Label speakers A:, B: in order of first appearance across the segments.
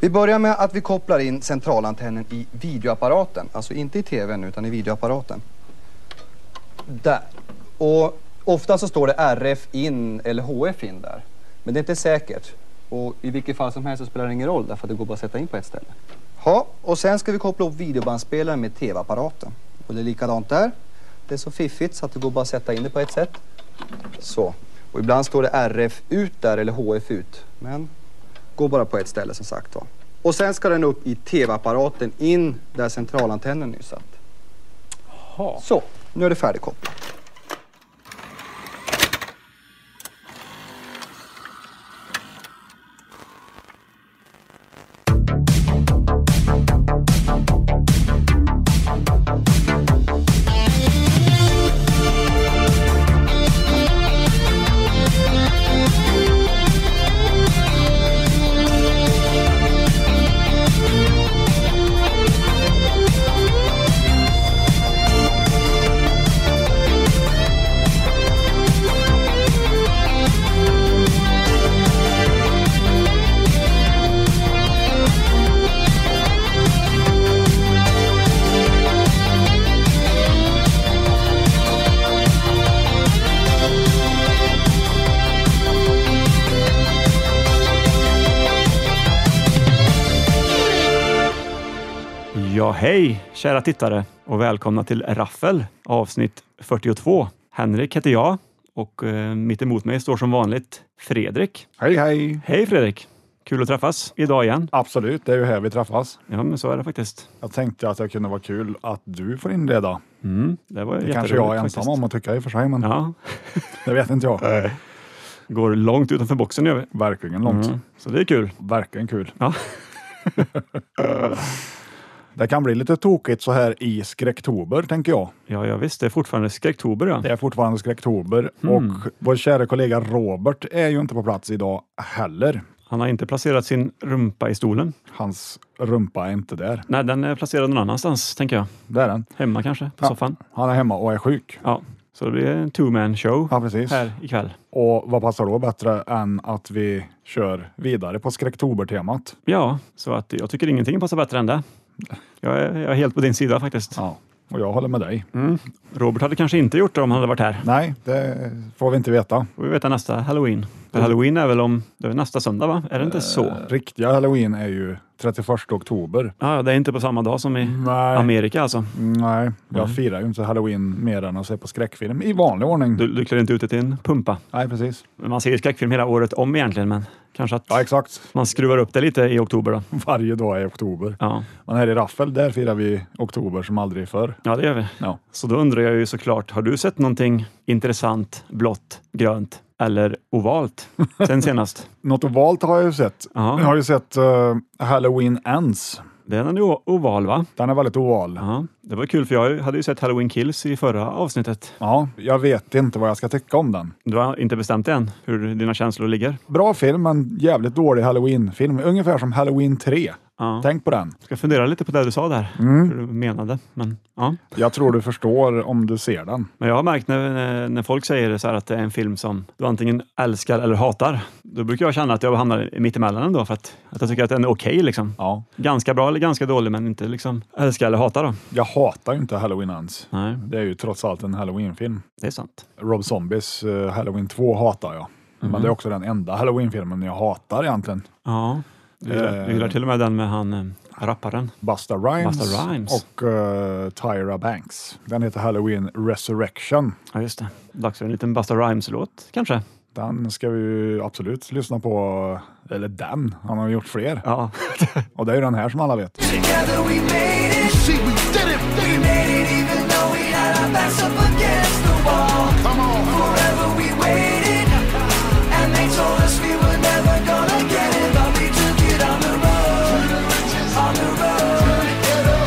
A: Vi börjar med att vi kopplar in centralantennen i videoapparaten. Alltså inte i tvn utan i videoapparaten. Där. Och ofta så står det RF in eller HF in där. Men det är inte säkert. Och i vilket fall som helst så spelar det ingen roll därför att det går bara att sätta in på ett ställe. Ja, och sen ska vi koppla upp videobandspelaren med tv-apparaten. Och det är likadant där. Det är så fiffigt så att det går bara att sätta in det på ett sätt. Så. Och ibland står det RF ut där eller HF ut. Men går bara på ett ställe som sagt var. Och sen ska den upp i tv-apparaten in där centralantennen nyss satt.
B: Jaha.
A: Så, nu är det färdigkopplat.
B: Ja, hej kära tittare och välkomna till Raffel avsnitt 42. Henrik heter jag och eh, mitt emot mig står som vanligt Fredrik.
C: Hej hej!
B: Hej Fredrik! Kul att träffas idag igen.
C: Absolut, det är ju här vi träffas.
B: Ja, men så är det faktiskt.
C: Jag tänkte att det kunde vara kul att du får inleda.
B: Mm, det var
C: Det kanske jag är
B: faktiskt.
C: ensam om att tycka i och för sig, men
B: Ja,
C: det vet inte jag.
B: går långt utanför boxen gör vi.
C: Verkligen långt.
B: Mm, så det är kul.
C: Verkligen kul.
B: Ja.
C: Det kan bli lite tokigt så här i skräcktober, tänker jag.
B: Ja, ja visst, det är fortfarande skräcktober. Ja.
C: Det är fortfarande skräcktober
B: Mm.
C: och vår kära kollega Robert är ju inte på plats idag heller.
B: Han har inte placerat sin rumpa i stolen.
C: Hans rumpa är inte där.
B: Nej, den är placerad någon annanstans, tänker jag.
C: Där är den.
B: Hemma kanske, på
C: Ja.
B: soffan.
C: Han är hemma och är sjuk.
B: Ja, så det blir en two-man show
C: Ja, precis.
B: här ikväll.
C: Och vad passar då bättre än att vi kör vidare på skräcktobertemat?
B: Ja, så att jag tycker ingenting passar bättre än det. Jag är, jag är helt på din sida faktiskt. Mm.
C: Ja. Och jag håller med dig.
B: Robert hade kanske inte gjort det om han hade varit här.
C: Nej, det får vi inte veta.
B: Får vi veta nästa halloween. För
C: Mm.
B: halloween är väl om det är nästa söndag, va? Är det inte så?
C: Eh. Riktiga halloween är ju 31 oktober.
B: Ja, det är inte på samma dag som i
C: Nej,
B: Amerika alltså.
C: nej jag
B: Mm.
C: firar ju inte halloween mer än att se på skräckfilm i vanlig ordning.
B: Du, du klär inte ut dig till en pumpa.
C: Nej, precis.
B: Men Man ser ju skräckfilm hela året om egentligen, men kanske att
C: Ja, exakt.
B: man skruvar upp det lite i oktober då.
C: Varje dag är oktober.
B: Ja,
C: Men här i Raffel, där firar vi oktober som aldrig förr.
B: ja det gör vi.
C: Ja.
B: Så då undrar jag ju såklart, har du sett någonting intressant, blått, grönt eller ovalt sen senast?
C: Något ovalt har jag ju sett.
B: Ja.
C: Jag har ju sett eh, Halloween Ends.
B: Den är nog oval va?
C: Den är väldigt oval.
B: Ja, det var kul för jag hade ju sett Halloween Kills i förra avsnittet.
C: Ja, jag vet inte vad jag ska tycka om den.
B: Du har inte bestämt än hur dina känslor ligger.
C: Bra film, men jävligt dålig halloween-film. Ungefär som Halloween 3.
B: Ja.
C: Tänk på den.
B: Jag ska fundera lite på det du sa där, hur du menade. Men, ja.
C: Jag tror du förstår om du ser den.
B: Men jag har märkt när, när- när folk säger det så här att det är en film som du antingen älskar eller hatar. Då brukar jag känna att jag hamnar mittemellan ändå för att, att jag tycker att den är okej. liksom.
C: Ja.
B: Ganska bra eller ganska dålig men inte liksom älska eller hata. Då.
C: Jag hatar ju inte Halloween ens.
B: Nej,
C: Det är ju trots allt en halloween-film.
B: det är sant.
C: Rob Zombies eh, Halloween 2 hatar jag.
B: Mhm.
C: Men det är också den enda halloween-filmen jag hatar egentligen.
B: Ja, du gillar,
C: Eh.
B: du gillar till och med den med han eh, rapparen.
C: Busta Rhymes,
B: Busta Rhymes.
C: och eh, Tyra Banks. Den heter Halloween Resurrection.
B: Ja, just det. Dags för en liten Busta Rhymes-låt kanske.
C: Den ska vi ju absolut lyssna på. Eller den, han har gjort fler.
B: Ja,
C: Och det är ju den här som alla vet.
D: Together we made it. See, we did it. We made it even though we had our backs up against the wall. Come on. Forever we waited. And they told us we were never gonna get it. But we took it on the road. On the road.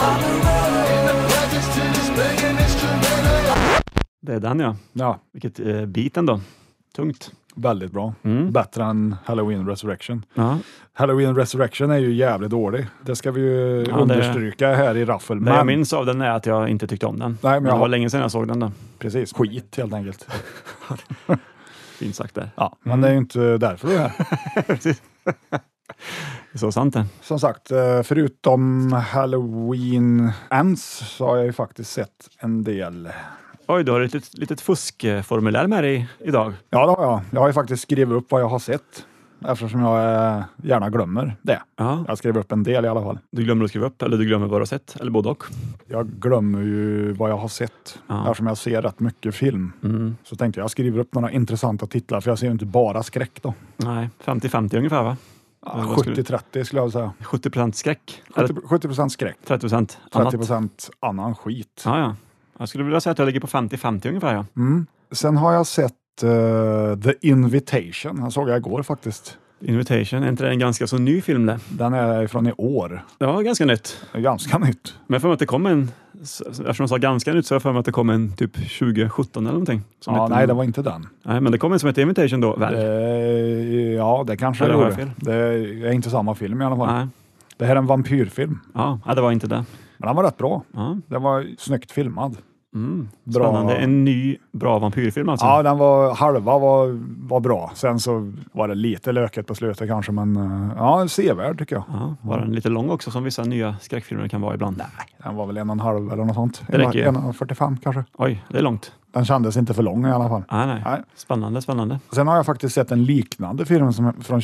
D: On the road. In the presence to this begging instrumental.
B: det är den ja.
C: Ja,
B: Vilket eh, beat ändå. Tungt.
C: väldigt bra. Bättre än Halloween Resurrection.
B: Ja,
C: Halloween Resurrection är ju jävligt dålig. Det ska vi ju
B: det-
C: understryka här i Raffel.
B: det jag
C: Men
B: minns av den är att jag inte tyckte om den.
C: men jag
B: det var
C: har-
B: länge sedan jag såg den då.
C: precis, skit helt enkelt.
B: Fint sagt där.
C: Ja, men det är ju inte därför du är här.
B: Det är så sant det.
C: Som sagt, eh, förutom Halloween Ends så har jag ju faktiskt sett en del.
B: Oj, du har ett litet, litet fuskformulär med dig idag.
C: Ja, det har jag. Jag har ju faktiskt skrivit upp vad jag har sett eftersom jag eh, gärna glömmer det.
B: Ja.
C: Jag skrev upp en del i alla fall.
B: Du glömmer att skriva upp eller du glömmer vad du har sett eller både och.
C: Jag glömmer ju vad jag har sett
B: Ja.
C: eftersom jag ser rätt mycket film.
B: Mm.
C: Så tänkte jag, jag skriver upp några intressanta titlar för jag ser ju inte bara skräck då.
B: Nej, 50-50 ungefär va? Eller Eh, vad skulle-
C: 70-30 skulle jag säga.
B: 70 procent skräck. Eller
C: 70 procent skräck,
B: 30 procent annat.
C: 30 procent annan skit.
B: Ja, ja. Jag skulle vilja säga att jag ligger på 50-50 ungefär. Ja.
C: Mm. Sen har jag sett eh, The Invitation. Den såg jag igår faktiskt.
B: Invitation, är inte det en ganska så ny film det?
C: Den är från i år.
B: Det var ganska nytt.
C: Det är Ganska nytt.
B: Men jag får mig att det kom en, s- eftersom jag sa ganska nytt så har jag för mig att det kom en typ 2017 eller någonting. som
C: Ja,
B: hette-
C: nej, det var inte den.
B: nej, men det kom en som hette Invitation då, väl?
C: Eh, ja, det kanske
B: Eller
C: jag
B: har jag
C: gjorde. Det är inte samma film i alla fall.
B: Nej.
C: Det här är en vampyrfilm.
B: Ja, nej, det var inte det.
C: Men den var rätt bra.
B: Ja.
C: Den var snyggt filmad.
B: Mm.
C: Bra.
B: Spännande. En ny bra vampyrfilm alltså.
C: Ja, den var, halva var, var bra. Sen så var det lite löket på slutet kanske, men eh, ja, sevärd tycker jag.
B: Ja, var den lite lång också som vissa nya skräckfilmer kan vara ibland? Nej.
C: Den var väl en och en halv eller något sånt.
B: Det räcker ju.
C: 1,45 kanske.
B: Oj, det är långt.
C: Den kändes inte för lång i alla fall.
B: Nej, nej.
C: Nej.
B: Spännande, spännande.
C: Sen har jag faktiskt sett en liknande film som, från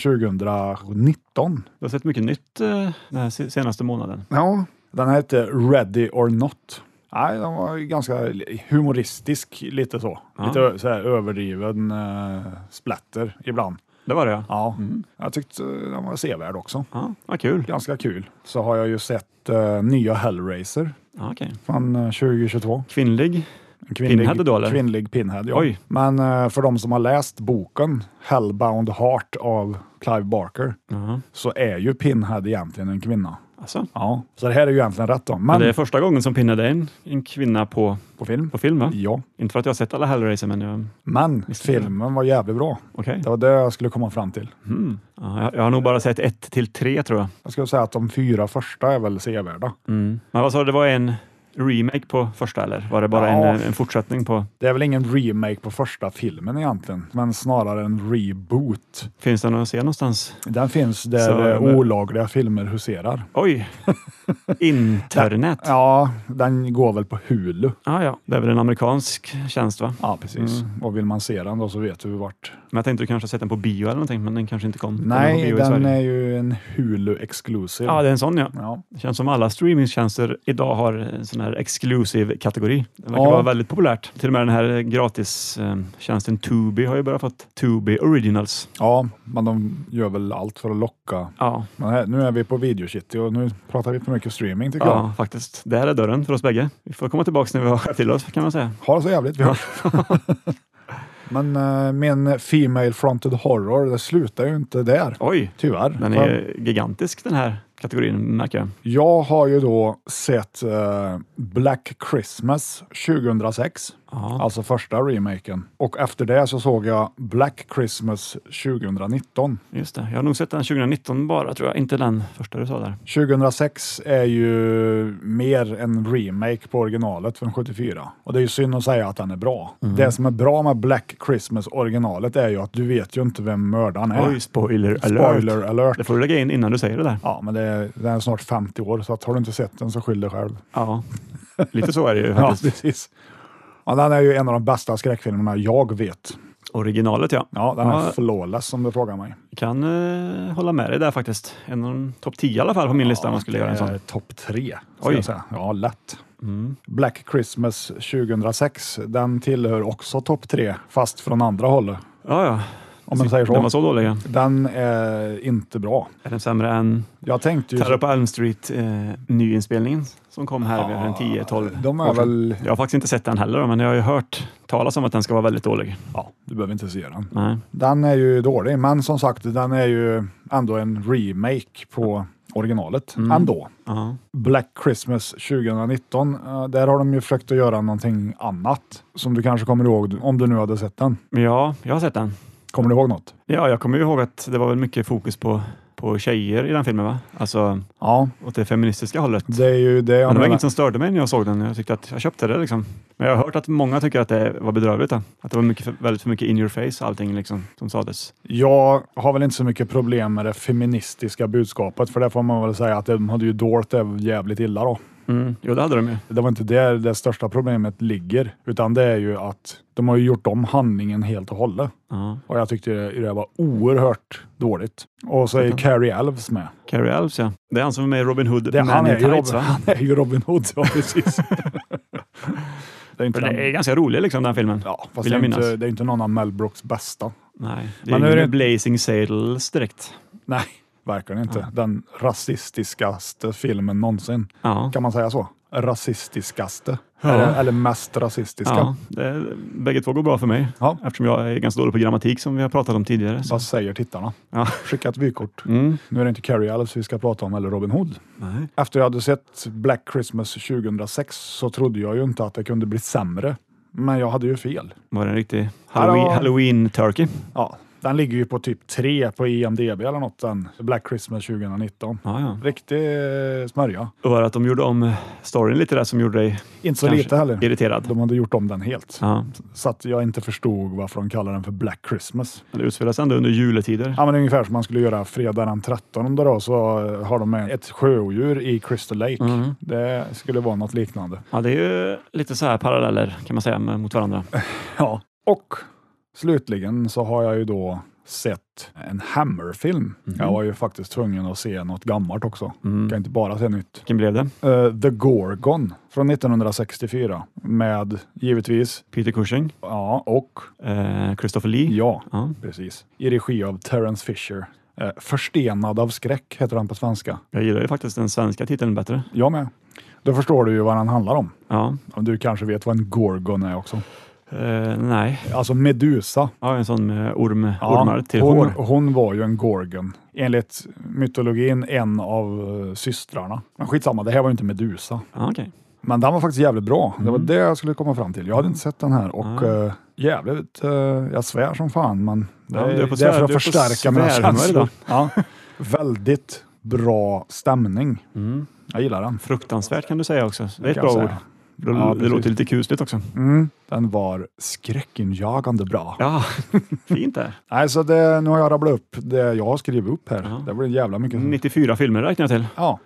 C: 2019.
B: Du har sett mycket nytt eh, den här se- senaste månaden.
C: Ja. Den här heter Ready or Not. Nej, den var ju ganska li- humoristisk, lite så.
B: Ja.
C: Lite ö- så här, överdriven eh, splatter ibland.
B: Det var det ja.
C: Ja, jag tyckte den var sevärd också.
B: Ja, vad kul.
C: Ganska kul. Så har jag ju sett eh, nya Hellraiser
B: Ja, okej.
C: från eh, 2022.
B: Kvinnlig.
C: En kvinnlig,
B: Pinhead då, eller?
C: Kvinnlig Pinhead, ja.
B: Oj.
C: Men eh, för de som har läst boken Hellbound Heart av Clive Barker
B: Ja,
C: så är ju Pinhead egentligen en kvinna.
B: alltså.
C: Ja, så det här är ju egentligen rätt då. Men
B: Men det är första gången som Pinhead är en, en kvinna på,
C: på film?
B: på film va?
C: Ja,
B: Inte för att jag har sett alla Hellraiser men jag,
C: men
B: Visst är det.
C: filmen var jävligt bra.
B: okej.
C: Det var det jag skulle komma fram till.
B: Mm. Ja, jag, jag har nog bara sett ett till tre tror jag.
C: Jag skulle säga att de fyra första är väl sevärda.
B: Mm. Men vad sa du, det var en remake på första eller var det bara
C: Ja.
B: en, eh, en fortsättning på?
C: Det är väl ingen remake på första filmen egentligen, men snarare en reboot.
B: Finns den att se någonstans?
C: Den finns där
B: Så,
C: eh,
B: men-
C: olagliga filmer huserar.
B: Oj! Internet. Ja.
C: Ja, den går väl på Hulu.
B: Ah, ja, det är väl en amerikansk tjänst va?
C: Ja, precis. Mm. Och vill man se den då så vet du vart.
B: Men jag tänkte du kanske har sett den på bio eller någonting, men den kanske inte kom. på
C: Nej,
B: bio i
C: den
B: Sverige.
C: är ju en Hulu exclusive.
B: Ja, det är en sån ja.
C: Ja.
B: Det känns som alla streamingtjänster idag har en sån här exclusive kategori. Det verkar
C: Ja.
B: vara väldigt populärt. Till och med den här gratistjänsten Tubi har ju börjat fått Tubi Originals.
C: ja, men de gör väl allt för att locka.
B: Ja,
C: Men här, nu är vi på Video City och nu pratar vi för mycket streaming tycker jag.
B: ja faktiskt. Där är dörren för oss bägge. Vi får komma tillbaka när vi har skärpt till oss kan man säga.
C: Ha det så jävligt, vi hörs. men eh, min Female Fronted Horror, det slutar ju inte där.
B: Oj,
C: Tyvärr.
B: den
C: För
B: är gigantisk den här kategorin märker jag.
C: Jag har ju då sett eh, Black Christmas 2006.
B: Ja.
C: Alltså första remaken. Och efter det så såg jag Black Christmas 2019.
B: Just det. Jag har nog sett den 2019 bara tror jag, inte den första du sa där.
C: 2006 är ju mer en remake på originalet från 74. Och det är ju synd att säga att den är bra. Det som är bra med Black Christmas originalet är ju att du vet ju inte vem mördaren är.
B: Oj, spoiler alert.
C: Spoiler alert.
B: Det får du lägga in innan du säger det där.
C: Ja, men det är, den är snart 50 år, så att har du inte sett den så skyll dig själv.
B: Ja, lite så är det ju
C: Ja,
B: faktiskt.
C: precis. Ja, den är ju en av de bästa skräckfilmerna jag vet.
B: Originalet ja.
C: Ja, den är
B: Ja.
C: flawless om du frågar mig.
B: Kan eh, hålla med dig där faktiskt. En av de topp 10 i alla fall på min lista om man skulle göra en
C: Det är mm.
B: sån.
C: Topp tre,
B: Oj.
C: ska jag säga. Ja, lätt. Black Christmas 2006, den tillhör också topp tre, fast från andra hållet.
B: Ja, ja.
C: Om man säger
B: Den var
C: så.
B: så dålig. ja.
C: Den är inte bra.
B: Är den sämre än
C: Jag tänkte ju...
B: Terror på Elm Street eh, nyinspelningen som kom här för en 10-12
C: De
B: år
C: är
B: sedan.
C: väl...
B: Jag har faktiskt inte sett den heller då, men jag har ju hört talas om att den ska vara väldigt dålig.
C: Ja, du behöver inte se den.
B: Nej.
C: Den är ju dålig, men som sagt, den är ju ändå en remake på originalet.
B: Mm.
C: Ändå.
B: Ja.
C: Black Christmas 2019. eh, Där har de ju försökt att göra någonting annat som du kanske kommer ihåg om du nu hade sett den.
B: Men ja, jag har sett den.
C: Kommer du ihåg något?
B: Ja, jag kommer ju ihåg att det var väl mycket fokus på, på tjejer i den filmen, va? Alltså
C: Ja,
B: åt det feministiska hållet.
C: det är ju det
B: Men det
C: jag
B: var
C: menar.
B: inget som störde mig när jag såg den. Jag tyckte att jag köpte det liksom. Men jag har hört att många tycker att det var bedrövligt. Då. Att det var mycket, för- väldigt för mycket in your face allting liksom, som sades.
C: Jag har väl inte så mycket problem med det feministiska budskapet, för det får man väl säga att de hade ju dolt det jävligt illa då.
B: Jo, det hade de ju.
C: Det var inte där det största problemet ligger, utan det är ju att de har ju gjort om handlingen helt och hållet.
B: Ja.
C: Och jag tyckte det det var oerhört dåligt. Och så är ju Carrie Alves med.
B: Carrie Alves, ja. Det är han som är med i Robin Hood,
C: Det, han,
B: Men
C: är
B: in
C: ju
B: Tights,
C: Robin,
B: va?
C: han är ju Robin Hood, ja precis. det är inte
B: Men det är
C: den,
B: ganska rolig liksom, den filmen.
C: ja, fast
B: vill
C: det, är
B: jag
C: inte,
B: minnas.
C: det är inte någon av Mel Brooks bästa.
B: Nej, det är
C: Men nu
B: ingen
C: är det-
B: Blazing Saddles direkt.
C: Nej, verkligen inte. Den rasistiskaste filmen någonsin.
B: Ja.
C: Kan man säga så? Rasistiskaste.
B: Ja.
C: Eller, eller mest rasistiska.
B: Ja, det, bägge två går bra för mig.
C: Ja.
B: Eftersom jag är ganska dålig på grammatik som vi har pratat om tidigare. Så.
C: Vad säger tittarna?
B: Ja.
C: Skicka ett vykort.
B: Mm.
C: Nu är det inte Carrie Alves vi ska prata om, eller Robin Hood.
B: Nej.
C: Efter jag hade sett Black Christmas 2006 så trodde jag ju inte att det kunde bli sämre. Men jag hade ju fel.
B: Var det en riktig Halloween,
C: Hallå.
B: Halloween turkey?
C: Ja, den ligger ju på typ 3 på IMDB eller något, den Black Christmas 2019.
B: Ja, ja.
C: Riktig eh, smörja.
B: Och var det att de gjorde om storyn lite där som gjorde dig
C: Inte så
B: Kanske
C: lite heller.
B: irriterad?
C: De hade gjort om den helt.
B: Ja.
C: Så att jag inte förstod varför de kallar den för Black Christmas.
B: Det utspelas ändå under juletider.
C: Ja, men ungefär som man skulle göra fredag den 13 då, så eh, har de med ett sjöodjur i Crystal Lake.
B: Mm.
C: Det skulle vara något liknande.
B: Ja, det är ju lite så här paralleller kan man säga med- mot varandra.
C: Ja. Och slutligen så har jag ju då sett en Hammer-film. Jag var ju faktiskt tvungen att se något gammalt också.
B: Mhm. Mm.
C: Kan inte bara se nytt.
B: Vilken blev det?
C: Eh, The Gorgon från 1964 med givetvis,
B: Peter Cushing?
C: ja och
B: Eh, Christopher Lee?
C: ja,
B: Ja.
C: precis, i regi av Terence Fisher. Eh, Förstenad av skräck heter han på svenska.
B: Jag gillar ju faktiskt den svenska titeln bättre.
C: Jag med. Då förstår du ju vad den handlar om.
B: Ja.
C: Om Du kanske vet vad en Gorgon är också.
B: Eh, nej,
C: Alltså Medusa.
B: ja, en sån med orm,
C: Ja,
B: ormar till
C: hon,
B: hår.
C: hon var ju en Gorgon. Enligt mytologin en av eh, systrarna. Men skitsamma, det här var ju inte Medusa.
B: Ja, okej.
C: Men den var faktiskt jävligt bra. Det var
B: Mm.
C: det jag skulle komma fram till. Jag hade inte sett den här och eh, jävligt, eh, jag svär som fan, men det
B: Ja,
C: är,
B: du är på
C: det
B: svär-
C: är för att
B: du är på
C: förstärka mina
B: svärhumör
C: känslor.
B: idag.
C: Ja. Väldigt bra stämning.
B: Mm.
C: Jag gillar den.
B: Fruktansvärt kan du säga också. Det är ett
C: kan jag
B: bra ord.
C: säga.
B: Det,
C: Ja,
B: det
C: precis.
B: låter lite kusligt också.
C: Mm. Den var skräckinjagande bra.
B: Ja, fint där.
C: Nej, så det, nu har jag rabblat upp det jag har skrivit upp här.
B: Ja.
C: Det blir jävla mycket.
B: 94 filmer räknar jag till.
C: Ja.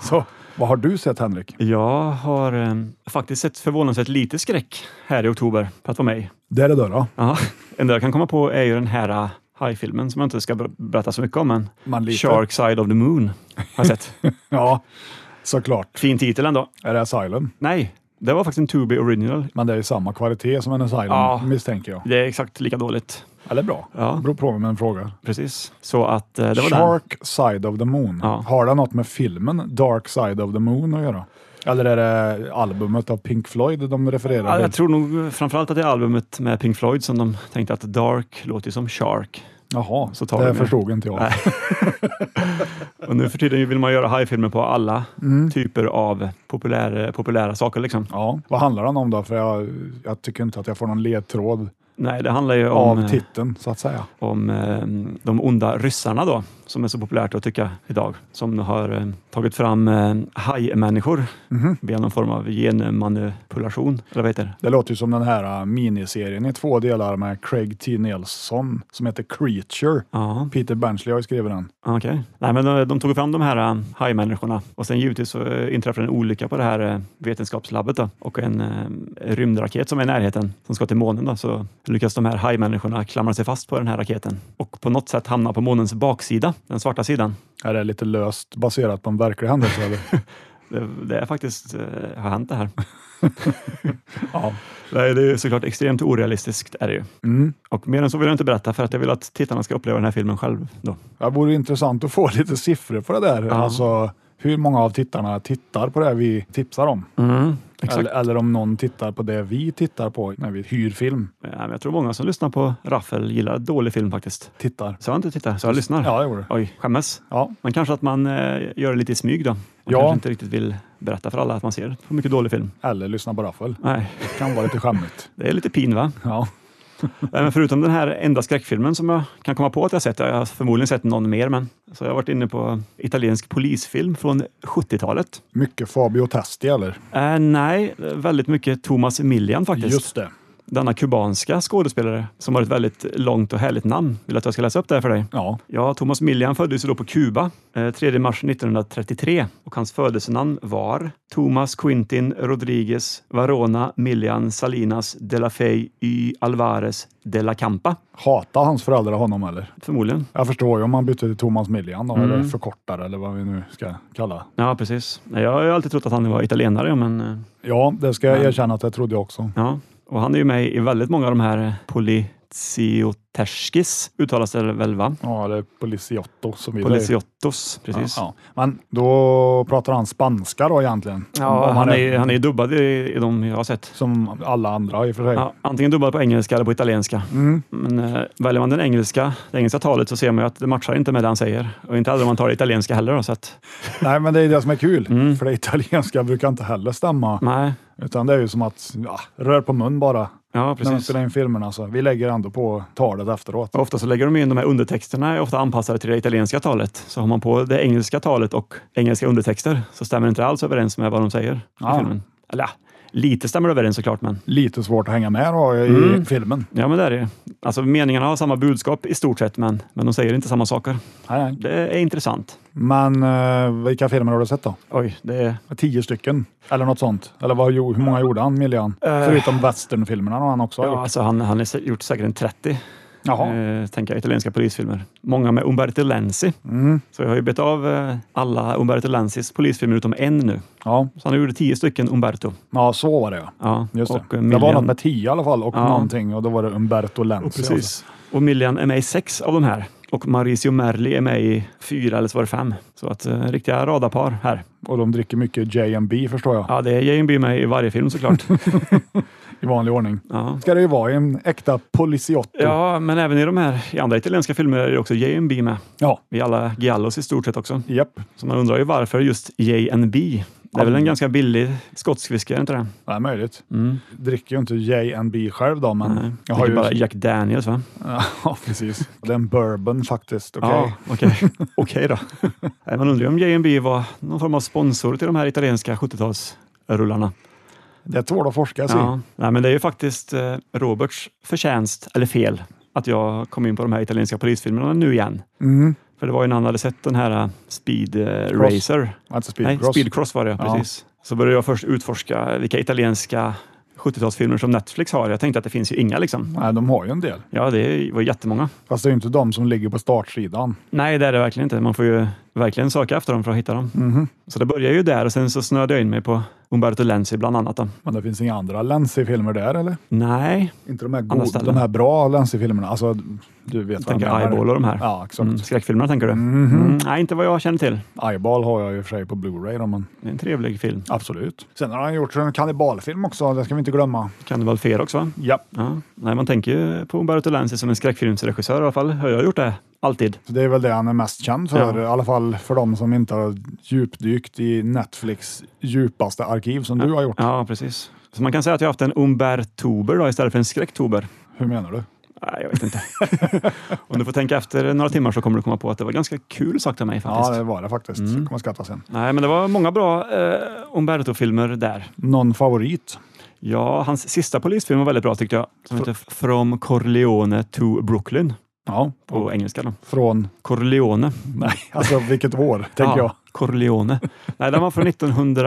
C: Så vad har du sett Henrik?
B: Jag har eh, faktiskt sett förvånansvärt lite skräck här i oktober för att vara mig.
C: Det är det där då.
B: Ja, enda jag kan komma på är ju den här eh, hajfilmen som jag inte ska ber- berätta så mycket om men
C: Man lite.
B: Shark Side of the Moon har jag sett.
C: Ja, såklart.
B: fin titel ändå.
C: Är det Asylum?
B: Nej, det var faktiskt en To Be Original.
C: Men det är ju samma kvalitet som en Asylum
B: Ja.
C: misstänker jag.
B: Det är exakt lika dåligt.
C: Eller bra.
B: Ja.
C: Beror på med en fråga.
B: Precis. Så att eh, det var den.
C: Shark Side of the Moon.
B: Ja.
C: Har det något med filmen Dark Side of the Moon att göra? Eller är det albumet av Pink Floyd de refererar
B: Ja,
C: till?
B: jag tror nog framförallt att det är albumet med Pink Floyd som de tänkte att Dark låter ju som Shark.
C: Jaha,
B: Så tar
C: det
B: de ju-
C: förstod inte jag.
B: Nej. Och nu för tiden vill man göra hajfilmer på alla typer av populär, populära saker. Liksom.
C: Mm. Ja. Vad handlar den om då? För jag, jag tycker inte att jag får någon ledtråd
B: Nej, det handlar ju om,
C: av
B: eh,
C: titeln så att säga.
B: om eh, de onda ryssarna då, som är så populärt att tycka idag. Som har eh, tagit fram eh, hajmänniskor via någon form av genmanipulation. Eller vad heter det?
C: Mhm. Det låter ju som den här äh, miniserien i två delar med Craig T. Nelson som heter Creature.
B: Ja,
C: Peter Benchley har ju skrivit den.
B: okej. Nej, men de, de tog fram de här eh, hajmänniskorna och sen givetvis så eh, inträffade en olycka på det här eh, vetenskapslabbet då, och en eh, rymdraket som är i närheten som ska till månen. Då, så lyckas de här hajmänniskorna klamra sig fast på den här raketen och på något sätt hamna på månens baksida, den svarta sidan.
C: Är det lite löst baserat på en verklig händelse? Eller?
B: Det, det är faktiskt, eh, har hänt det här.
C: Ja.
B: Nej, det är ju såklart extremt orealistiskt är det ju.
C: Mm.
B: Och mer än så vill jag inte berätta för att jag vill att tittarna ska uppleva den här filmen själv. Då.
C: Det vore intressant att få lite siffror på det där.
B: Ja.
C: Alltså, hur många av tittarna tittar på det vi tipsar om?
B: Exakt.
C: Mm. Eller, eller om någon tittar på det vi tittar på när vi hyr film.
B: Ja, men Jag tror många som lyssnar på Raffel gillar dålig film faktiskt.
C: Tittar.
B: Så jag inte tittar, så jag lyssnar.
C: Ja, det gjorde det.
B: Oj, skämmes.
C: Ja.
B: Men kanske att man eh, gör det lite i smyg då. Man
C: Ja.
B: kanske inte riktigt vill berätta för alla att man ser på mycket dålig film.
C: Eller lyssna på Raffel.
B: Nej,
C: Det kan vara lite skämmigt.
B: det är lite pin va?
C: Ja.
B: Nej, men förutom den här enda skräckfilmen som jag kan komma på att jag sett, jag har förmodligen sett någon mer, men så jag har varit inne på italiensk polisfilm från 70-talet.
C: Mycket Fabio Testi eller?
B: Eh, nej, väldigt mycket Thomas Milian faktiskt.
C: Just det.
B: Denna kubanska skådespelare som har ett väldigt långt och härligt namn. Vill du att jag ska läsa upp det här för dig?
C: Ja.
B: Ja, Thomas Millian föddes ju då på Kuba eh, 3 mars 1933 och hans födelsenamn var Thomas Quintin Rodriguez Varona Millian Salinas de la Fey y Alvarez de la Campa.
C: Hatar hans föräldrar honom eller?
B: Förmodligen.
C: Jag förstår ju om man bytte till Thomas Millian då, eller förkortare eller vad vi nu ska kalla.
B: Ja, precis. Nej, Jag har ju alltid trott att han var italienare, men eh,
C: Ja, det ska jag erkänna att jag trodde jag också.
B: ja. Och han är ju med i väldigt många av de här eh, Polizioterskis, uttalas det väl va?
C: Ja, eller Policiotto som vi säger.
B: Poliziottos, precis.
C: Ja, ja. Men då pratar han spanska då egentligen?
B: Ja,
C: Om
B: han är, han är ju dubbad i, i de jag har sett.
C: Som alla andra i och för sig.
B: Ja, antingen dubbad på engelska eller på italienska.
C: Mm.
B: Men eh, väljer man den engelska, det engelska talet så ser man ju att det matchar inte med det han säger. Och inte heller om man tar det italienska heller. Då, så att,
C: Nej, men det är det som är kul.
B: Mm.
C: För det italienska brukar inte heller stämma.
B: nej,
C: Utan det är ju som att, ja, rör på mun bara.
B: ja
C: När man
B: precis.
C: spelar in filmerna så. Vi lägger ändå på talet efteråt.
B: Och ofta så lägger de in de här undertexterna, är ofta anpassade till det italienska talet. Så har man på det engelska talet och engelska undertexter så stämmer det inte alls överens med vad de säger i
C: Ja.
B: filmen. Eller ja, lite stämmer det överens såklart, men
C: Lite svårt att hänga med då i
B: Mm.
C: filmen.
B: ja, men det är det ju. Alltså meningarna har samma budskap i stort sett, men, men de säger inte samma saker.
C: Nej, nej.
B: Det är intressant.
C: Men eh, vilka filmer har du sett då?
B: Oj, det är
C: Tio stycken eller något sånt? Eller vad, gjo- hur många gjorde han, Millian? Förutom westernfilmerna har han också
B: Eh. Ja,
C: gjort.
B: alltså han, han har sä- gjort säkert en 30,
C: Jaha.
B: eh, tänker jag, italienska polisfilmer. Många med Umberto Lenzi.
C: Mm.
B: Så jag har ju bett av eh, alla Umberto Lenzis polisfilmer utom en nu.
C: Ja.
B: Så han gjorde tio stycken Umberto.
C: ja, så var det ja.
B: Ja,
C: Just det.
B: och eh,
C: det var
B: Millian-
C: något med tio i alla fall och
B: Ja.
C: någonting och då var det Umberto alltså. Lenzi.
B: Precis. Och Millian är med i sex av de här. Och Mauricio Merli är med i fyra eller så var det fem. Så att eh, riktiga radarpar här.
C: Och de dricker mycket J&B förstår jag,
B: Ja, det är J&B med i varje film såklart.
C: i vanlig ordning.
B: ja.
C: Ska det ju vara i en äkta polisiotto.
B: ja, men även i de här i andra italienska filmer är det också J&B med.
C: ja.
B: I alla Giallos i stort sett också.
C: Japp.
B: Så man undrar ju varför just J&B. Det är väl en ganska billig skotsk whisky, är det inte det?
C: Det är möjligt.
B: Mm.
C: Dricker ju inte J&B själv då, men
B: Nej.
C: jag har ju...
B: bara Jack Daniels va?
C: ja, precis. Det är en bourbon faktiskt. Okej.
B: Ja, okej. Okej då. Nej, Man undrar ju om J&B var någon form av sponsor till de här italienska 70-talsrullarna.
C: Det tål att forskas i.
B: Ja. Nej, men det är ju faktiskt eh, Roberts förtjänst, eller fel, att jag kom in på de här italienska polisfilmerna nu igen.
C: Mm.
B: För det var ju när han hade sett den här eh, Speed eh,
C: Cross.
B: Racer.
C: Alltså
B: Nej,
C: speedcross.
B: Speedcross var det,
C: Ja.
B: precis. Så började jag först utforska vilka italienska 70-talsfilmer som Netflix har. Jag tänkte att det finns ju inga liksom.
C: Nej, de har ju en del.
B: Ja, det var jättemånga.
C: Fast det är ju inte de som ligger på startsidan.
B: Nej, det är det verkligen inte. Man får ju verkligen söka efter dem för att hitta dem.
C: Mhm.
B: Så det började ju där och sen så snöade jag in mig på Umberto Lenzi bland annat. Då.
C: Men det finns inga andra Lenzi-filmer där eller?
B: Nej,
C: Inte de här,
B: Andra
C: goda,
B: ställen.
C: de här bra Lenzi-filmerna. Alltså, du vet
B: jag tänker
C: menar.
B: Eyeball och de här.
C: Ja, exakt. Mhm.
B: Mm, skräckfilmerna tänker du? Mm, nej, inte vad jag känner till.
C: Eyeball har jag ju för sig på Blu-ray då, men
B: Det är en trevlig film.
C: absolut. Sen har han gjort en kannibalfilm också, det ska vi inte glömma.
B: Cannibal Ferox va?
C: Ja,
B: Ja. Nej, man tänker ju på Umberto Lenzi som en skräckfilmsregissör i alla fall. Har jag gjort det? Alltid.
C: så det är väl det han är mest känd för,
B: Ja.
C: i alla fall för de som inte har djupdykt i Netflix djupaste arkiv som du har gjort.
B: Ja, precis. Så man kan säga att jag har haft en Umbertober då, istället för en skräcktober.
C: Hur menar du?
B: Nej, jag vet inte. Om du får tänka efter några timmar så kommer du komma på att det var ganska kul sagt av mig faktiskt. Mm.
C: Ja, det var det faktiskt. Jag kommer skratta sen.
B: Nej, men det var många bra eh, Umberto-filmer där.
C: Någon favorit?
B: Ja, hans sista polisfilm var väldigt bra tyckte jag. Som heter From Corleone to Brooklyn
C: Ja,
B: på engelska. Då.
C: från,
B: Corleone.
C: nej, alltså vilket år, tänker jag.
B: Corleone. Nej, den var från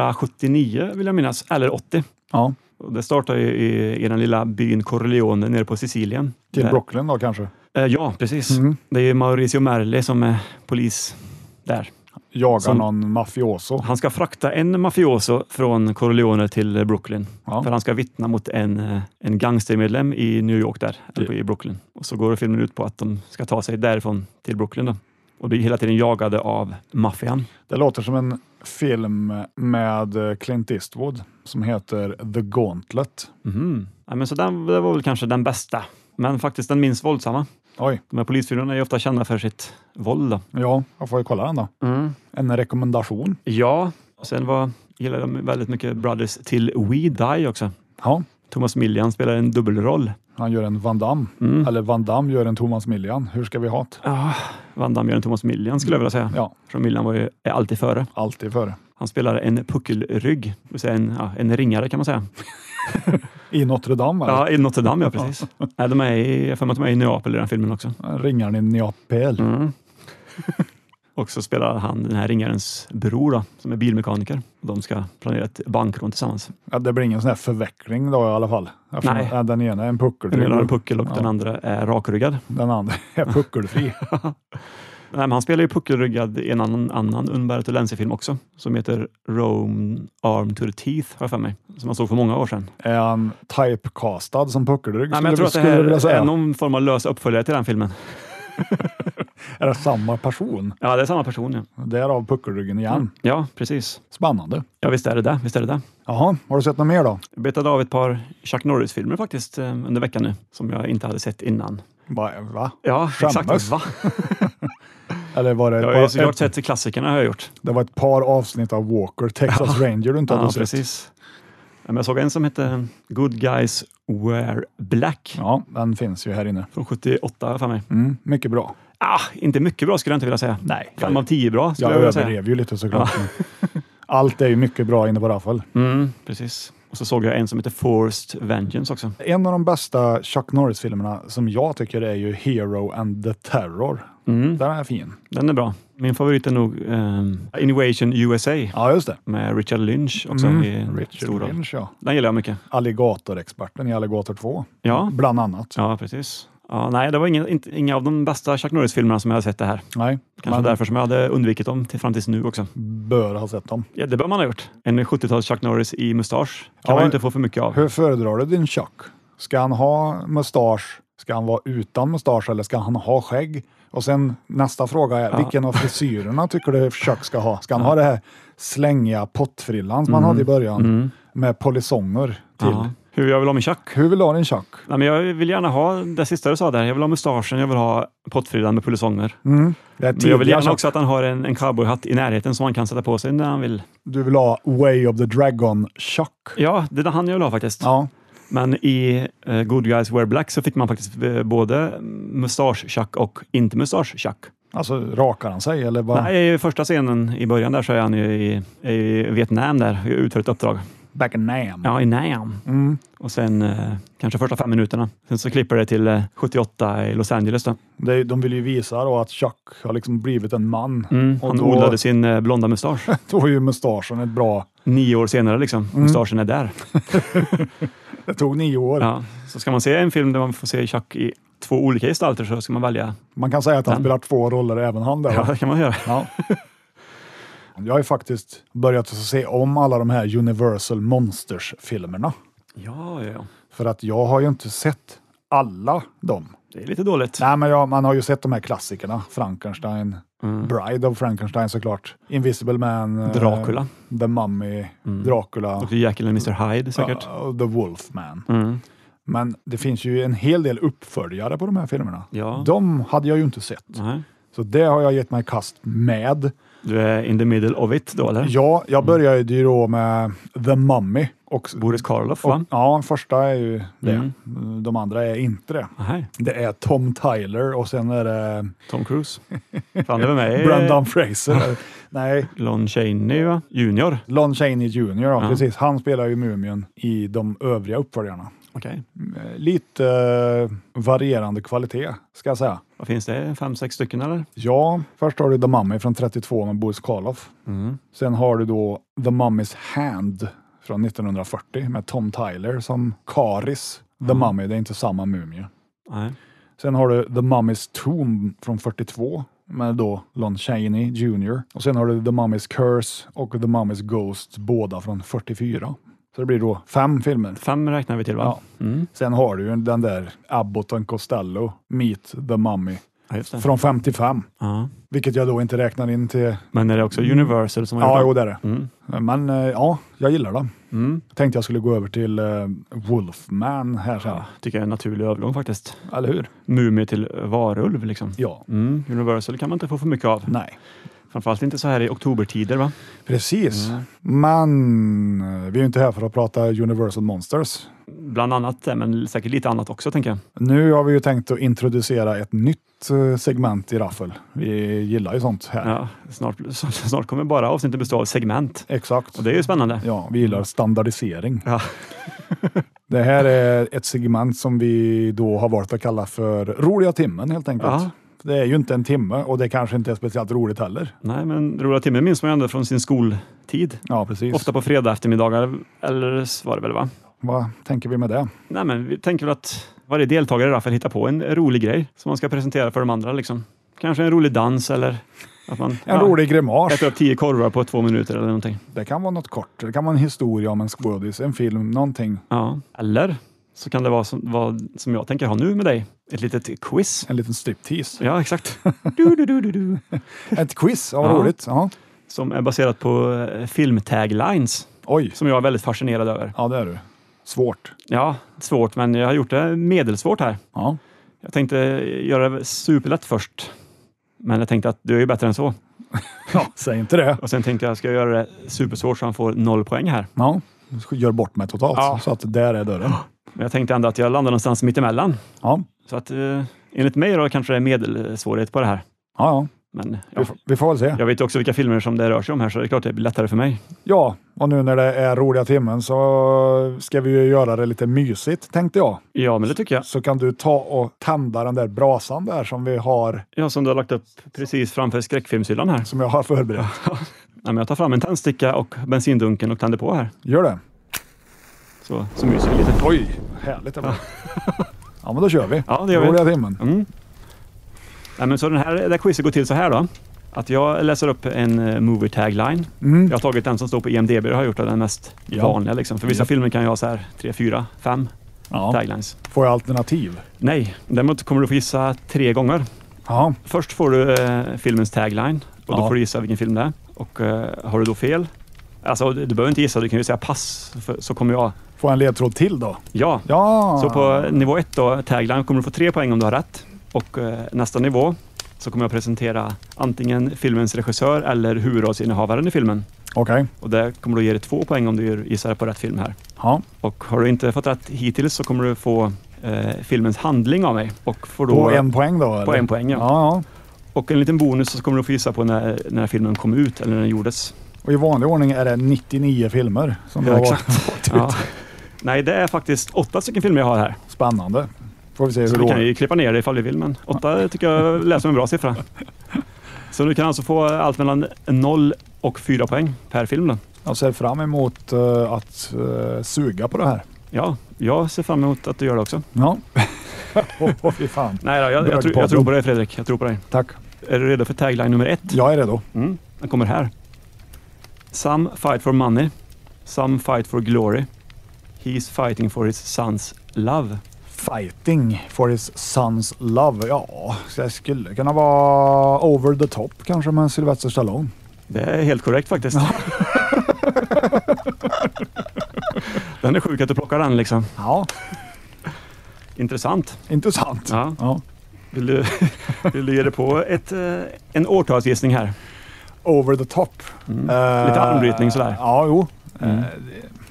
B: 1979 vill jag minnas, eller 80.
C: Ja,
B: Och det startar ju i, i den lilla byn Corleone nere på Sicilien.
C: till
B: Där-
C: Brooklyn då kanske.
B: Eh, ja, precis.
C: Mm.
B: Det är ju Mauricio Merli som är polis där.
C: Jagar
B: Som-
C: någon mafioso.
B: Han ska frakta en mafioso från Corleone till Brooklyn.
C: Ja.
B: För han ska vittna mot en, eh, en gangstermedlem i New York där, eller på- i Brooklyn. Och så går filmen ut på att de ska ta sig därifrån till Brooklyn då. Och blir hela tiden jagade av maffian.
C: Det låter som en film med eh, Clint Eastwood som heter The Gauntlet.
B: Mhm. Ja, men så den, det var väl kanske den bästa. Men faktiskt den minst våldsamma.
C: Oj,
B: De här polisfilmerna är ju ofta kända för sitt våld. Då.
C: ja, jag får ju kolla den då. En rekommendation.
B: Ja, och sen var, gillade de väldigt mycket Brothers till We Die också.
C: Ja,
B: Thomas Millian spelar en dubbelroll.
C: Han gör en Van Damme. Eller Van Damme gör en Thomas Millian. Hur ska vi ha det?
B: Ah, Van Damme gör en Thomas Millian skulle jag vilja säga.
C: Ja,
B: För Millian var ju är alltid före.
C: alltid före.
B: Han spelar en puckelrygg, det vill säga en, ja, en ringare kan man säga.
C: I Notre Dame? eller?
B: Ja, i Notre Dame, ja precis. Nej, de är i, jag har för mig att de är i Neapel i den filmen också.
C: Ringaren i Neapel.
B: Mm. Och så spelar han den här ringarens bror då, som är bilmekaniker. De ska planera ett bankrån tillsammans.
C: Ja, det blir ingen sån här förveckling då i alla fall. Eftersom
B: Nej.
C: att Den ena är en puckel.
B: Den ena har en puckel och
C: Ja.
B: den andra är rakryggad.
C: Den andra är puckelfri.
B: Nej, men han spelar ju puckelryggad i en annan, annan Unberto Lenzi-film också, som heter Rome Arm to the Teeth, har jag för mig, som man såg för många år sedan.
C: är han typecastad som puckelrygg?
B: Nej, men jag tror
C: skulle-
B: att det
C: skulle jag vilja
B: här
C: säga.
B: är någon form av lös uppföljare till den filmen.
C: Är det samma person?
B: Ja, det är samma person. Ja, Mm.
C: Därav puckelryggen igen.
B: ja precis.
C: Spännande.
B: Ja, visst är det det. Visst är det det.
C: Jaha, har du sett något mer då?
B: Jag betade av ett par Chuck Norris-filmer faktiskt eh, under veckan nu, som jag inte hade sett innan.
C: Va? va?
B: Ja,
C: Skämmas.
B: exakt. Va?
C: Eller var det, ett
B: Jag har ju
C: par,
B: såklart
C: ett,
B: sett klassikerna har jag gjort.
C: det var ett par avsnitt av Walker, Texas Ranger du inte hade
B: Ja,
C: sett?
B: precis. Ja, men jag såg en som hette Good Guys Wear Black
C: Ja, den finns ju här inne.
B: från 78 har jag för mig.
C: Mm, mycket bra.
B: Ah, inte mycket bra skulle jag inte vilja säga.
C: Nej,
B: Fem av tio bra skulle
C: jag
B: jag, vilja säga.
C: överdrev ju lite såklart. men Allt är ju mycket bra inne på Raffel.
B: Mm, precis. Och så såg jag en som heter Forced Vengeance också.
C: En av de bästa Chuck Norris-filmerna som jag tycker är ju Hero and the Terror.
B: Mm,
C: Den är fin.
B: den är bra. Min favorit är nog ehm, Innovation USA
C: Ja, just det.
B: med Richard Lynch också.
C: Mm.
B: i en stor
C: Richard
B: roll.
C: Lynch, ja.
B: Den gillar jag mycket.
C: Alligatorexperten i Alligator 2,
B: Ja,
C: bland annat.
B: ja precis. Ja, nej, det var inga, inte, inga av de bästa Chuck Norris-filmerna som jag har sett det här.
C: Nej,
B: Kanske
C: man
B: därför som jag hade undvikit dem till fram tills nu också.
C: bör ha sett dem.
B: Ja, det bör man ha gjort. En 70-tals Chuck Norris i mustasch kan
C: Ja,
B: man
C: men-
B: ju inte få för mycket av.
C: Hur föredrar du din Chuck? Ska han ha mustasch? Ska han vara utan mustasch eller ska han ha skägg? Och sen nästa fråga är, vilken av frisyrerna tycker du Chuck ska ha? Ska han ha det här slängiga pottfrillan som han hade i början med polisonger till?
B: Mm. Ja. Hur jag vill ha min Chuck?
C: Hur vill du ha din Chuck?
B: Nej, men jag vill gärna ha det sista du sa där. Jag vill ha mustaschen, jag vill ha pottfrillan med
C: Mm,
B: polisonger.
C: Det är
B: Men jag vill
C: tidiga
B: gärna
C: Chuck.
B: också att han har en, en cowboyhatt i närheten som han kan sätta på sig när han vill.
C: Du vill ha Way of the Dragon Chuck?
B: Ja, det är han jag vill ha faktiskt.
C: Ja,
B: Men i eh, Good Guys Wear Black så fick man faktiskt eh, både mustasch-Chuck och inte mustasch-Chuck.
C: alltså rakar han sig eller bara
B: Nej, i första scenen i början där så är han ju i, i Vietnam där och utför ett uppdrag.
C: back in name?
B: Ja, i Nam.
C: Mm.
B: Och sen eh, kanske första fem minuterna. Sen så klipper det till eh, 78 i Los Angeles. Då.
C: Det, är- de vill ju visa då att Chuck har liksom blivit en man.
B: Mm,
C: Och
B: han
C: då-
B: odlade sin eh, blonda mustasch.
C: Då är ju mustaschen ett bra...
B: Nio år senare liksom. Mustaschen är där.
C: Det tog nio år.
B: Ja. Så ska man se en film där man får se Chuck i två olika gestalter så ska man välja.
C: Man kan säga att han
B: Den.
C: spelar två roller även han där.
B: Ja,
C: va?
B: det kan man göra.
C: Ja. Jag har ju faktiskt börjat se om alla de här Universal Monsters-filmerna.
B: Ja, ja, ja.
C: För att jag har ju inte sett alla dem.
B: Det är lite dåligt.
C: Nej, men jag, man har ju sett de här klassikerna. Frankenstein,
B: Mm.
C: Bride of Frankenstein såklart. Invisible Man, eh,
B: Dracula.
C: The Mummy, Dracula,
B: Och Jekyll and Mr Hyde säkert.
C: Mm. ja, och The Wolfman.
B: Mm.
C: Men det finns ju en hel del uppföljare på de här filmerna.
B: Ja.
C: De hade jag ju inte sett.
B: Nej.
C: Så det har jag gett mig i kast med.
B: Du är in the middle of it då, eller?
C: Ja, jag började ju då med The Mummy. Och,
B: Boris Karloff,
C: och,
B: va?
C: ja, första är ju det. De andra är inte det.
B: Nej.
C: Det är Tom Tyler och sen är det
B: Tom Cruise. Fan, det var med.
C: Brendan Fraser. Nej,
B: Lon Chaney, va? Junior.
C: Lon Chaney Jr. Ja,
B: Ja.
C: precis. Han spelar ju Mumien i de övriga uppföljarna.
B: Okej.
C: Eh, Lite eh, varierande kvalitet, ska jag säga.
B: Vad finns det? Fem, sex stycken eller?
C: Ja, först har du The Mummy från 32 med Boris Karloff. Sen har du då The Mummy's Hand från 1940 med Tom Tyler som Karis. The Mummy, det är inte samma mumie.
B: Nej.
C: Sen har du The Mummy's Tomb från 42 med då Lon Chaney Jr. Och sen har du The Mummy's Curse och The Mummy's Ghost, båda från 44. Så det blir då fem filmer.
B: Fem räknar vi till va? Mm.
C: Ja. Sen har du ju den där Abbott and Costello, Meet the Mummy,
B: Ja, just det.
C: från 55.
B: Ja.
C: Vilket jag då inte räknar in till
B: Men är det också Universal som har
C: Mm. Ja, jo
B: gjort
C: det är det. Men eh, ja, jag gillar dem.
B: Mm.
C: Tänkte jag skulle gå över till eh, Wolfman här sen.
B: Ja, tycker jag är en naturlig övergång faktiskt.
C: Eller hur?
B: Mumie till varulv liksom.
C: Ja.
B: Mm. Universal kan man inte få för mycket av.
C: Nej.
B: Framförallt inte så här i oktobertider va?
C: Precis.
B: Mm.
C: Men eh, vi är ju inte här för att prata Universal Monsters.
B: Bland annat det, men säkert lite annat också tänker jag.
C: Nu har vi ju tänkt att introducera ett nytt eh, segment i Raffel. Vi gillar ju sånt här.
B: Ja, snart, snart kommer bara avsnittet bestå av segment.
C: Exakt.
B: Och det är ju spännande.
C: Ja, vi gillar standardisering.
B: Ja.
C: Det här är ett segment som vi då har valt att kalla för Roliga timmen helt enkelt.
B: Ja.
C: Det är ju inte en timme och det kanske inte är speciellt roligt heller.
B: Nej, men roliga timmen minns man ju ändå från sin skoltid.
C: Ja, precis.
B: Ofta på fredag eftermiddagar, eller så var det väl va?
C: Vad tänker vi med det?
B: Nej, men vi tänker väl att varje deltagare i alla fall hittar på en rolig grej som man ska presentera för de andra. Liksom. Kanske en rolig dans eller att man
C: En rolig grimas.
B: äter upp tio korvar på två minuter eller någonting.
C: Det kan vara något kort. Det kan vara en historia om en skådis, en film, någonting.
B: Ja. Eller så kan det vara som, vad, som jag tänker ha nu med dig, ett litet quiz.
C: En liten striptease.
B: Ja, exakt. Du, du, du, du, du.
C: Ett quiz, ja, vad
B: Ja.
C: roligt. Ja.
B: Som är baserat på eh, filmtaglines
C: Oj,
B: som jag är väldigt fascinerad över.
C: ja det är du. Svårt.
B: Ja, svårt, men jag har gjort det medelsvårt här.
C: Ja.
B: Jag tänkte göra det superlätt först, men jag tänkte att du är ju bättre än så.
C: ja, säg inte det.
B: Och sen tänkte jag, ska jag göra det supersvårt så han får noll poäng här?
C: Ja. Du ska- gör bort mig totalt.
B: Ja.
C: Så att där är dörren.
B: Men jag tänkte ändå att jag landar någonstans mittemellan.
C: Ja,
B: Så att eh, enligt mig då kanske det är medelsvårighet på det här.
C: ja,
B: Men
C: ja.
B: ja,
C: Vi, får, vi får väl se.
B: jag vet också vilka filmer som det rör sig om här, så det är klart det blir lättare för mig.
C: Ja, och nu när det är roliga timmen så ska vi ju göra det lite mysigt tänkte jag.
B: Ja, men det tycker jag.
C: Så kan du ta och tända den där brasan där som vi har,
B: Ja, som du har lagt upp precis framför skräckfilmshyllan här.
C: som jag har förberett.
B: Nej, men jag tar fram en tändsticka och bensindunken och tänder på här.
C: Gör det.
B: Så, så myser vi lite.
C: Oj, härligt det var. Ja, men då kör vi.
B: Ja, det gör vi.
C: Roliga timmen.
B: Mm. Nej, men så den här, det här quizet går till så här då. Att jag läser upp en eh, movie tagline. Jag har tagit den som står på IMDB och har gjort den mest
C: Mm. Ja.
B: vanliga. Liksom. För vissa
C: Ja.
B: filmer kan jag ha så här tre, fyra, fem
C: Ja.
B: taglines.
C: Får jag alternativ?
B: Nej, däremot kommer du få gissa tre gånger.
C: Ja,
B: Först får du eh, filmens tagline och då
C: Ja.
B: får du gissa vilken film det är. Och eh, har du då fel, alltså du du behöver inte gissa, du kan ju säga pass, för, så kommer jag,
C: får jag en ledtråd till då?
B: ja.
C: Ja,
B: Så på nivå ett då, tagline, kommer du få tre poäng om du har rätt. Och eh, nästa nivå så kommer jag presentera antingen filmens regissör eller huvudrollsinnehavaren i filmen.
C: okej.
B: Och det kommer du ge dig två poäng om du gör- gissar på rätt film här.
C: Ja.
B: Och har du inte fått rätt hittills så kommer du få eh, filmens handling av mig. Och får då
C: På en poäng då? Eller?
B: på en poäng, ja.
C: ja.
B: Och en liten bonus så kommer du få gissa på när, när filmen kom ut eller när den gjordes.
C: Och i vanlig ordning är det 99 filmer som
B: Ja,
C: har
B: exakt.
C: varit ute.
B: Ja. Nej, det är faktiskt åtta stycken filmer jag har här.
C: Spännande. Får vi se
B: Så
C: hur
B: vi kan
C: det går.
B: ju klippa ner det ifall vi vill, men åtta tycker jag lät som en bra siffra. Så du kan alltså få allt mellan noll och fyra poäng per film då.
C: Jag ser fram emot eh, att eh, suga på det här.
B: Ja, jag ser fram emot att du gör det också.
C: Ja. Åh, oh, fy fan.
B: Nej då, jag, jag, tror- jag tror på dig Fredrik. Jag tror på dig.
C: Tack.
B: Är du redo för tagline nummer ett?
C: Jag är redo.
B: Mm, den kommer här. Some fight for money. Some fight for glory. He's fighting for his sons love.
C: Fighting for his son's love. Ja, så det skulle kunna vara over the top kanske med Sylvester Stallone.
B: Det är helt korrekt faktiskt. den är sjuk att du plockar den liksom.
C: Ja,
B: Intressant.
C: intressant.
B: Ja.
C: Ja.
B: Vill du, vill du ge dig på ett, eh, en årtalsgissning här?
C: Over the top. Eh,
B: Mm. Lite armbrytning sådär. Mm.
C: Ja, jo. Eh, det-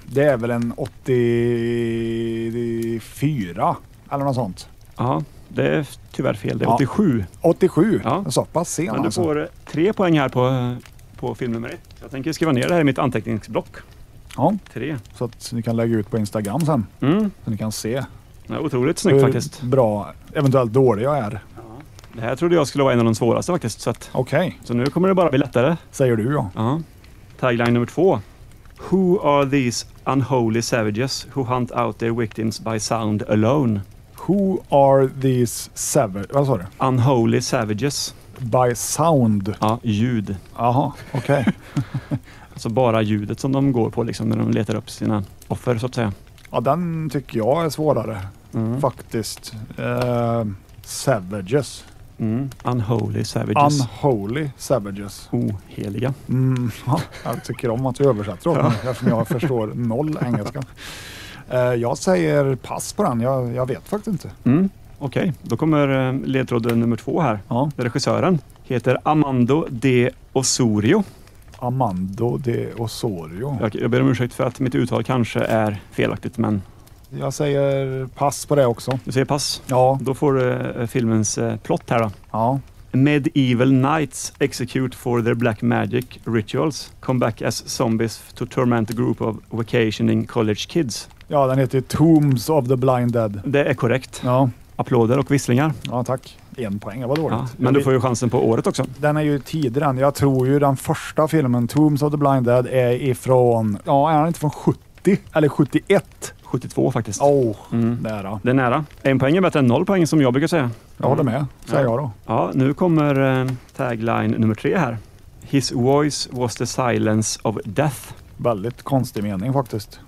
C: det är väl en 84 eller något sånt.
B: Ja, det är tyvärr fel. Det är
C: Ja.
B: 87.
C: 87,
B: Ja.
C: så pass sen
B: Men du
C: alltså.
B: får eh, tre poäng här på, eh, på film nummer ett. Jag tänker skriva ner det här i mitt anteckningsblock.
C: Ja,
B: Tre.
C: så att ni kan lägga ut på Instagram sen.
B: Mm.
C: Så ni kan se
B: Det är otroligt snyggt
C: hur
B: faktiskt.
C: bra, eventuellt dålig jag är.
B: Det här trodde jag skulle vara en av de svåraste faktiskt. Så, att,
C: Okej,
B: så nu kommer det bara bli lättare.
C: säger du ja.
B: Ja. Tagline nummer två. Who are these unholy savages who hunt out their victims by sound alone?
C: Who are these seven... Vad sa du?
B: Unholy savages.
C: By sound.
B: Ja, ljud.
C: Jaha, okej.
B: Alltså bara ljudet som de går på liksom när de letar upp sina offer så att säga.
C: ja, den tycker jag är svårare
B: Mm.
C: faktiskt. Eh, savages.
B: Mm. Unholy savages.
C: Unholy savages.
B: Oheliga.
C: Mm, ja, jag tycker om att du översätter åt mig eftersom jag förstår noll engelska. Eh, jag säger pass på den. Jag, jag vet faktiskt inte.
B: Mm. Okej, då kommer eh, ledtråd nummer två här.
C: Ja.
B: Det är Regissören. Heter Amando de Osorio.
C: Amando de Osorio.
B: Jag, jag ber om ursäkt för att mitt uttal kanske är felaktigt, men
C: Jag säger pass på det också.
B: du säger pass.
C: Ja,
B: Då får du eh, filmens eh, plott här då.
C: ja.
B: Medieval knights execute for their black magic rituals. Come back as zombies to torment a group of vacationing college kids.
C: Ja, den heter ju Tombs of the Blind Dead.
B: Det är korrekt.
C: Ja,
B: Applåder och visslingar.
C: ja tack. En poäng, det var dåligt.
B: Ja, men du får ju chansen på året också.
C: Den är ju tidigare än. Jag tror ju den första filmen, Tombs of the Blind Dead, är ifrån... Ja, är den inte från 70? Eller 71?
B: 72 faktiskt.
C: Åh,
B: Mm.
C: nära.
B: Det är nära. En poäng är bättre än noll poäng som jag brukar säga.
C: Jag håller med, säger jag då.
B: Ja, nu kommer eh, tagline nummer tre här. His voice was the silence of death.
C: Väldigt konstig mening faktiskt.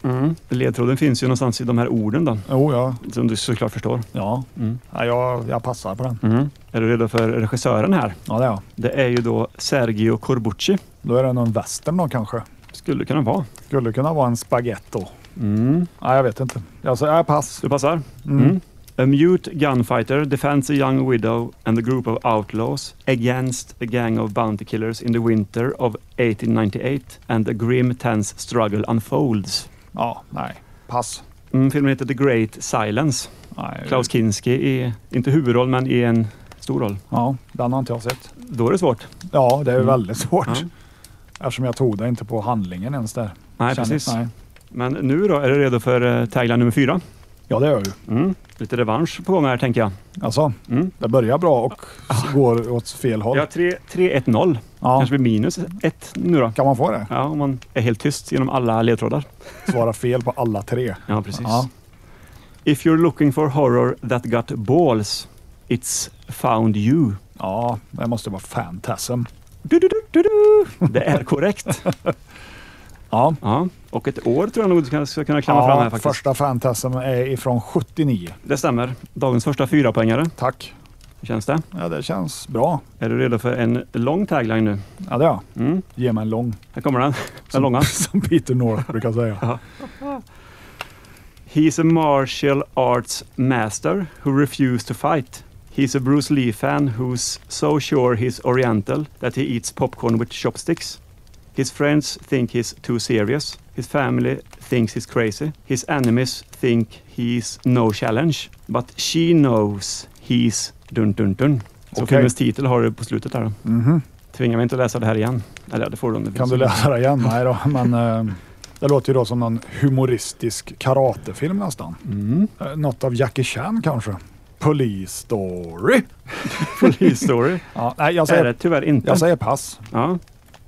B: Ledtråden finns ju någonstans i de här orden då,
C: Jo, ja.
B: som du såklart förstår.
C: Ja,
B: Mm.
C: ja jag, jag passar på den.
B: Är du redo för regissören här?
C: Ja, det är jag.
B: Det är ju då Sergio Corbucci.
C: Då är det någon western då kanske.
B: Skulle det kunna vara.
C: Skulle kunna vara en spaghetto.
B: Mm.
C: Nej, jag vet inte. Jag säger jag pass.
B: Du passar? Mm. A mute gunfighter defends a young widow and a group of outlaws against a gang of bounty killers in the winter of 1898 and a grim tense struggle unfolds.
C: Ja, nej. Pass.
B: Mm, filmen heter The Great Silence.
C: Nej.
B: Klaus Kinski i, inte huvudroll, men i en stor roll.
C: Ja, den har inte jag sett.
B: Då är det svårt.
C: Ja,
B: Mm.
C: det är väldigt svårt.
B: Ja.
C: Eftersom jag tog det inte på handlingen ens där.
B: Nej,
C: Känner-
B: precis.
C: Nej.
B: Men nu då, är du redo för eh, tagline nummer fyra?
C: Ja, det gör jag ju.
B: Mm. Lite revansch på gång här, tänker jag.
C: Alltså,
B: Mm.
C: det börjar bra och går åt fel håll.
B: Jag har 3-1-0.
C: Ja.
B: Kanske blir minus ett nu då.
C: Kan man få det?
B: Ja, om man är helt tyst genom alla ledtrådar.
C: Svara fel på alla tre.
B: Ja, precis.
C: Ja.
B: If you're looking for horror that got balls, it's found you.
C: Ja, det måste vara Fantasm.
B: Du, du, du, du, du. Det är korrekt.
C: Ja.
B: Ja, och ett år tror jag nog du ska- ska kunna klämma fram här faktiskt.
C: första Fantasm är ifrån 79.
B: Det stämmer. Dagens första fyrapoängare.
C: Tack.
B: Hur känns det?
C: Ja, det känns bra.
B: Är du redo för en lång tagline nu?
C: Ja, det är jag.
B: Mm.
C: Ge mig en lång.
B: Här kommer den. Den långa.
C: Som Peter North brukar säga.
B: He's a martial arts master who refused to fight. He's a Bruce Lee fan who's so sure he's oriental that he eats popcorn with chopsticks. His friends think he's too serious. His family thinks he's crazy. His enemies think he's no challenge. But she knows he's dun-dun-dun. Så
C: Okej.
B: filmens titel har du på slutet där. då.
C: Mhm.
B: Tvinga mig inte att läsa det här igen. Eller ja, det får du om det
C: Kan
B: finns.
C: du läsa det igen? Nej då, men eh, det låter ju då som någon humoristisk karatefilm nästan.
B: Mm.
C: Eh, Något av Jackie Chan kanske? Police Story?
B: Police story.
C: Ja, nej, jag
B: är
C: säger,
B: det tyvärr inte.
C: jag säger pass.
B: Ja.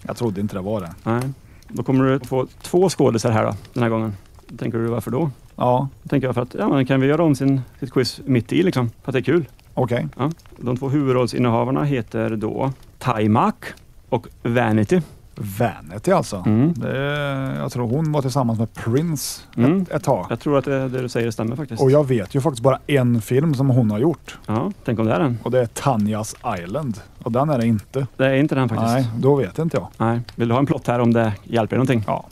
C: Jag trodde inte det var det.
B: Nej. Då kommer du få två skådisar här då, den här gången. Då Tänker du varför då?
C: Ja,
B: Då tänker jag för att ja, men kan vi göra om sin, sitt quiz mitt i liksom, för att det är kul.
C: okej.
B: Ja. De två huvudrollsinnehavarna heter då Taimak och Vanity.
C: Vanity alltså.
B: Mm.
C: Det, jag tror hon var tillsammans med Prince
B: Mm.
C: ett, ett tag.
B: Jag tror att det, det du säger stämmer faktiskt.
C: Och jag vet ju faktiskt bara en film som hon har gjort
B: Ja, tänk om det är den.
C: och det är Tanjas Island. Och den är det inte.
B: Det är inte den faktiskt.
C: Nej, då vet inte jag.
B: Nej. Vill du ha en plott här om det hjälper dig någonting?
C: Ja.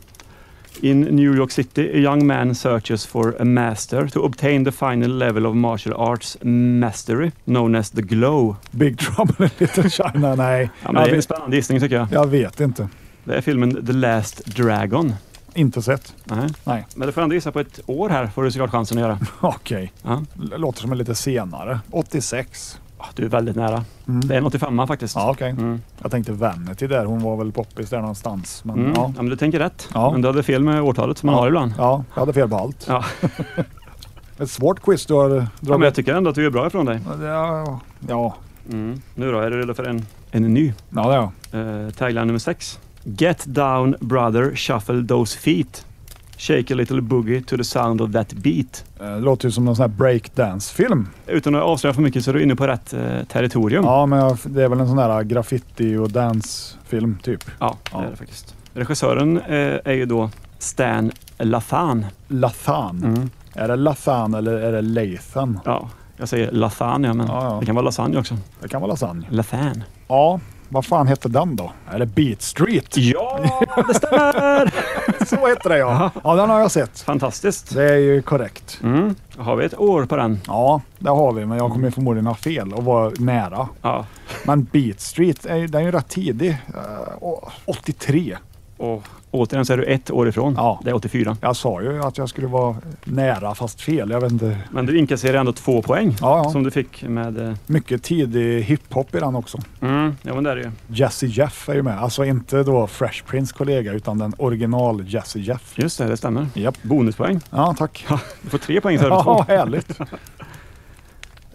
B: In New York City, a young man searches for a master to obtain the final level of martial arts mastery, known as the glow.
C: Big Trouble in Little China, nej.
B: Ja, men
C: jag,
B: det är en
C: vet,
B: spännande gissning tycker jag.
C: jag vet inte.
B: Det är filmen The Last Dragon.
C: Inte sett.
B: Nej.
C: Nej.
B: Men du får ändå gissa på ett år här, får du såklart chansen att göra.
C: Okej.
B: Ja.
C: L- Låter som en lite senare. 86.
B: Ah, Du är väldigt nära.
C: Mm.
B: Det är en 85 faktiskt.
C: Ja, okej.
B: Mm.
C: Jag tänkte Vanity där. Hon var väl poppis där någonstans. Men
B: Mm. Ja.
C: ja.
B: men du tänker rätt.
C: Ja.
B: Men du hade fel med årtalet som man har ibland.
C: ja, jag hade fel på allt.
B: Ja.
C: Ett svårt quiz du
B: Ja,
C: har
B: men jag
C: dragit.
B: tycker ändå att du är bra ifrån dig.
C: Ja, ja.
B: Mm. Nu då, är du redo för en, en ny?
C: ja det är jag.
B: Uh, tagline nummer sex. Get down brother, shuffle those feet. Shake a little boogie to the sound of that beat.
C: Eh, Det låter ju som någon sån här breakdance-film.
B: Utan att avslöja för mycket så är du inne på rätt eh, territorium.
C: Ja, men jag- det är väl en sån där eh, graffiti och dance-film typ.
B: Ja,
C: Ja.
B: det är det faktiskt. Regissören eh, är ju då Stan Lathan.
C: Lathan. Är det Lathan eller är det Lathan?
B: Ja, jag säger Lathan, ja, men
C: Ja, ja.
B: det kan vara lasagne också.
C: Det kan vara lasagne.
B: Lathan.
C: Ja, Vad fan hette den då? Är det Beat Street?
B: Ja, det stämmer!
C: Så hette det ja. Ja, den har jag sett.
B: Fantastiskt.
C: Det är ju korrekt.
B: Mm. Har vi ett år på den?
C: Ja, det har vi, men jag kommer förmodligen ha fel och vara nära.
B: Ja.
C: Men Beat Street, är, ju- den är ju rätt tidig. Eh, å- 83.
B: Och återigen så är du ett år ifrån.
C: Ja.
B: Det är 84.
C: Jag sa ju att jag skulle vara nära fast fel. Jag vet inte.
B: Men du inkasserar ändå två poäng
C: Ja, ja.
B: som du fick med... eh,
C: Mycket tidig hiphop i den också.
B: Mm, ja, men det är det ju.
C: Jesse Jeff är ju med. Alltså inte då Fresh Prince kollega utan den original Jesse Jeff.
B: Just det, det stämmer.
C: Japp.
B: Bonuspoäng.
C: Ja, tack.
B: Du får tre poäng istället för
C: Ja,
B: två.
C: härligt.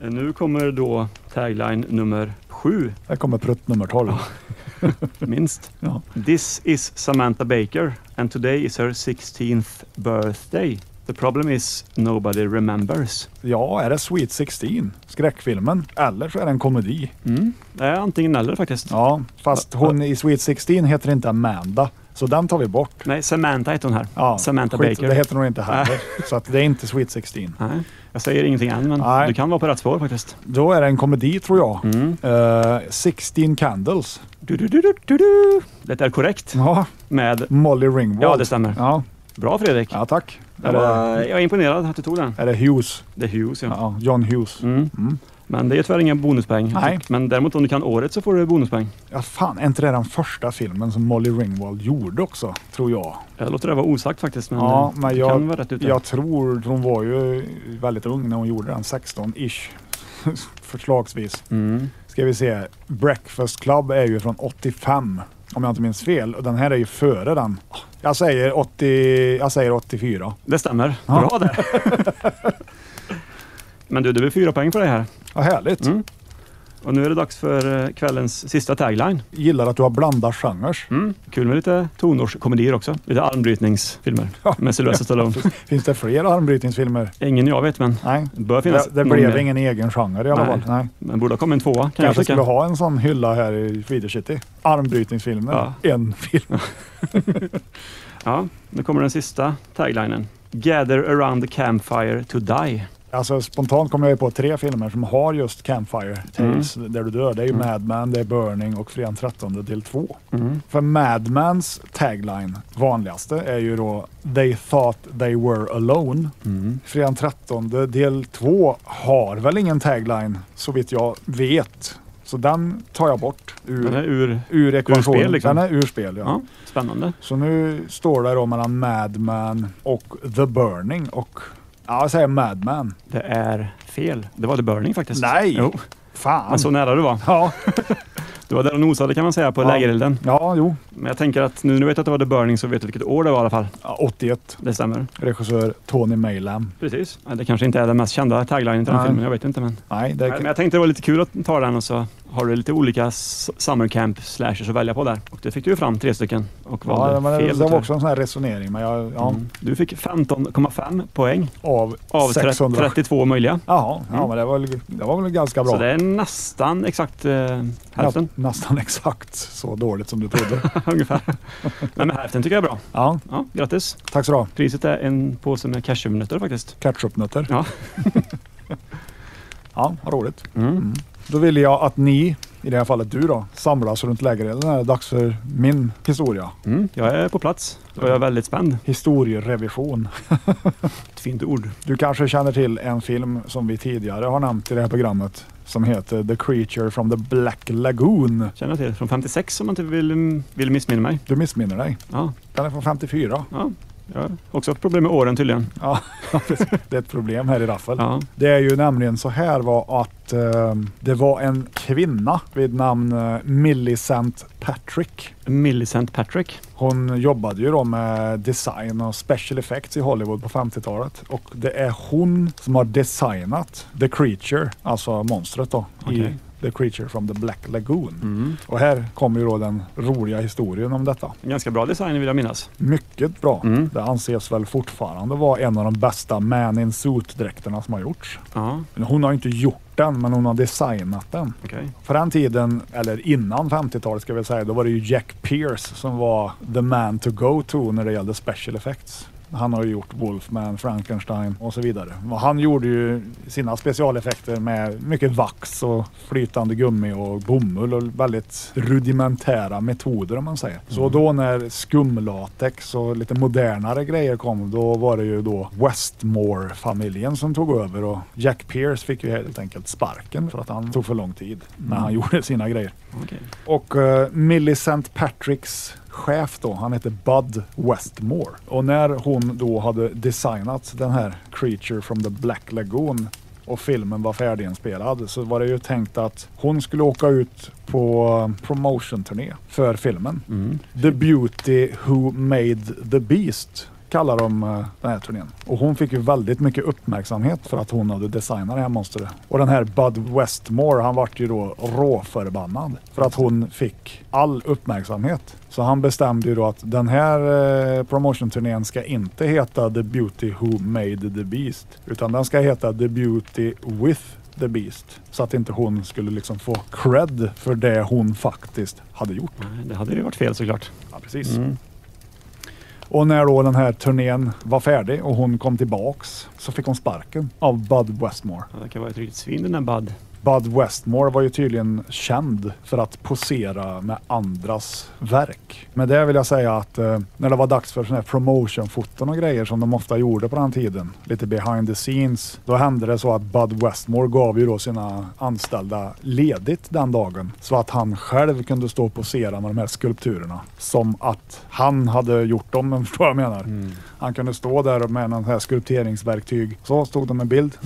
B: Eh, Nu kommer då tagline nummer sju,
C: Här kommer prutt nummer 12.
B: minst.
C: Ja.
B: This is Samantha Baker and today is her 16th birthday. The problem is nobody remembers.
C: Ja, är det Sweet 16? Skräckfilmen. Eller så är det en komedi.
B: Mm. Det är antingen eller faktiskt.
C: Ja, fast hon i Sweet 16 heter inte Amanda. Så den tar vi bort.
B: Nej, Samantha heter hon här.
C: Ja,
B: Samantha
C: skit,
B: Baker.
C: Det heter hon inte heller. så att det är inte Sweet 16.
B: Nej, jag säger ingenting än, men
C: Nej.
B: du kan vara på rätt spår faktiskt.
C: Då är det en komedi tror jag. Eh, 16 Candles.
B: Du, du, du, du, du, du. Det är korrekt
C: Ja,
B: med...
C: Molly Ringwald.
B: Ja, det stämmer.
C: Ja,
B: Bra Fredrik!
C: ja tack. Är
B: Jag,
C: det,
B: var, jag är imponerad att du tog den.
C: är det Hughes?
B: Det är Hughes ja.
C: Ja, John Hughes.
B: Mm. Men det är tyvärr inga bonuspoäng.
C: Nej.
B: Men däremot om du kan året så får du bonuspoäng.
C: Ja, fan, är inte det den första filmen som Molly Ringwald gjorde också, tror jag?
B: Jag låter det vara osagt faktiskt, men,
C: Ja,
B: eh,
C: men
B: du kan vara
C: jag,
B: rätt ute.
C: jag tror hon var ju väldigt ung när hon gjorde den, 16-ish. Förslagsvis.
B: Mm.
C: Ska vi se. Breakfast Club är ju från 85, om jag inte minns fel. Och den här är ju före den. Jag säger, 80, jag säger 84.
B: Det stämmer.
C: Ja.
B: Bra där! men du, det blir fyra poäng på dig här.
C: Vad härligt.
B: Mm. Och nu är det dags för eh, kvällens sista tagline.
C: Gillar att du har blandat genrer.
B: Mm. Kul med lite tonårskomedier också. Lite armbrytningsfilmer med Sylvester Stallone.
C: Finns det fler armbrytningsfilmer?
B: Ingen jag vet, men
C: Nej.
B: det bör
C: Det,
B: finnas
C: det
B: någon
C: blev
B: mer.
C: ingen egen genre i alla
B: Mm. Nej.
C: fall. Nej.
B: Men borde ha kommit en tvåa kan jag
C: Kanske skulle
B: tycka.
C: ha en sån hylla här i Feeder City. Armbrytningsfilmer.
B: Ja.
C: En film.
B: Ja, nu kommer den sista taglinen. Gather around the campfire to die.
C: Alltså spontant kommer jag ju på tre filmer som har just Campfire Tales
B: Mm.
C: där du dör. Det är ju Mad Men, det är Burning och Fredagen 13 del 2. För Mad Mens tagline, vanligaste, är ju då They thought they were alone. Fredagen 13 del 2 har väl ingen tagline så vitt jag vet. Så den tar jag bort
B: Den är
C: ur,
B: ur...
C: ur ekvationen.
B: spel liksom.
C: Den är ur spel, ja.
B: Ja, spännande.
C: Så nu står det då mellan Mad Men och The Burning och Ja, jag säger Mad Men.
B: Det är fel. Det var The Burning faktiskt.
C: Nej!
B: Jo,
C: Fan!
B: men så nära du var.
C: Ja,
B: Du var där och nosade kan man säga på
C: Ja.
B: lägerelden.
C: ja jo.
B: Men jag tänker att nu när du vet att det var The Burning så vet du vilket år det var i alla fall.
C: Ja, 81.
B: Det stämmer.
C: Regissör Tony Maylam.
B: Precis. Ja, Det kanske inte är den mest kända taglinen till den
C: Nej.
B: filmen, jag vet inte. Men...
C: Nej, det
B: Nej, men jag tänkte det var lite kul att ta den och så har du lite olika s- summer camp slashers att välja på där. Och det fick du ju fram tre stycken och valde
C: ja, men det,
B: fel.
C: det var
B: tyvärr.
C: också en sån här resonering. Men jag, ja,
B: Mm. Du fick 15,5 poäng
C: av,
B: av
C: 600.
B: 32 möjliga.
C: Jaha, ja,
B: Mm.
C: men det var, väl- det var väl ganska bra.
B: Så det är nästan exakt eh, hälften.
C: Nä, nästan exakt så dåligt som du trodde.
B: Ungefär. Nej, men hälften tycker jag är bra.
C: ja,
B: Ja, grattis.
C: tack så du ha.
B: Priset är en påse med cashewnötter faktiskt.
C: Ketchupnötter.
B: Ja.
C: Ja, vad roligt.
B: Mm.
C: Då ville jag att ni, i det här fallet du då, samlas runt lägerelden. Det är dags för min historia.
B: Mm. Jag är på plats och jag är väldigt spänd.
C: Historierevision.
B: Ett fint ord.
C: Du kanske känner till en film som vi tidigare har nämnt i det här programmet som heter The Creature from the Black Lagoon.
B: Känner jag till. Från 56 om man inte vill, mm, vill missminna mig.
C: Du missminner dig.
B: Ja,
C: Den är från 54.
B: ja. Jag har också haft problem med åren tydligen.
C: Ja, det är ett problem här i Raffel.
B: Ja.
C: Det är ju nämligen så här var att eh, det var en kvinna vid namn eh, Millicent Patrick.
B: Millicent Patrick.
C: Hon jobbade ju då med design och special effects i Hollywood på 50-talet och det är hon som har designat The Creature, alltså monstret då, i
B: Okej.
C: The Creature from the Black Lagoon.
B: Mm.
C: Och här kommer ju då den roliga historien om detta.
B: En ganska bra design vill jag minnas.
C: Mycket bra.
B: Mm.
C: Det anses väl fortfarande vara en av de bästa man in suit-dräkterna som har gjorts.
B: Ja,
C: Hon har ju inte gjort den, men hon har designat den.
B: okej.
C: På den tiden, eller innan 50-talet ska vi säga, då var det ju Jack Pierce som var the man to go to när det gällde special effects. Han har ju gjort Wolfman, Frankenstein och så vidare. Och han gjorde ju sina specialeffekter med mycket vax och flytande gummi och bomull och väldigt rudimentära metoder om man säger. Så då när skumlatex och lite modernare grejer kom, då var det ju då Westmore-familjen som tog över och Jack Pierce fick ju helt enkelt sparken för att han tog för lång tid när han gjorde sina grejer.
B: Okej.
C: Och eh, Millicent Patricks chef då, han heter Bud Westmore. Och när hon då hade designat den här Creature from the Black Lagoon och filmen var färdiginspelad så var det ju tänkt att hon skulle åka ut på eh, promotion-turné för filmen.
B: Mm.
C: The Beauty Who Made the Beast kallar de eh, den här turnén. Och hon fick ju väldigt mycket uppmärksamhet för att hon hade designat det här monstret. Och den här Bud Westmore, han vart ju då råförbannad för att hon fick all uppmärksamhet. Så han bestämde ju då att den här eh, promotion-turnén ska inte heta The Beauty Who Made the Beast, utan den ska heta The Beauty With The Beast. Så att inte hon skulle liksom få cred för det hon faktiskt hade gjort.
B: Nej, Det hade ju varit fel såklart.
C: Ja, precis.
B: Mm.
C: Och när då den här turnén var färdig och hon kom tillbaks så fick hon sparken av Bud Westmore.
B: Ja, Det kan vara ett riktigt svin den där Bud.
C: Bud Westmore var ju tydligen känd för att posera med andras verk. Med det vill jag säga att eh, när det var dags för såna här promotionfoton och grejer som de ofta gjorde på den tiden, lite behind the scenes, då hände det så att Bud Westmore gav ju då sina anställda ledigt den dagen så att han själv kunde stå och posera med de här skulpturerna som att han hade gjort dem, om du förstår vad jag menar. Han kunde stå där med någon här skulpteringsverktyg. Så stod de en bild.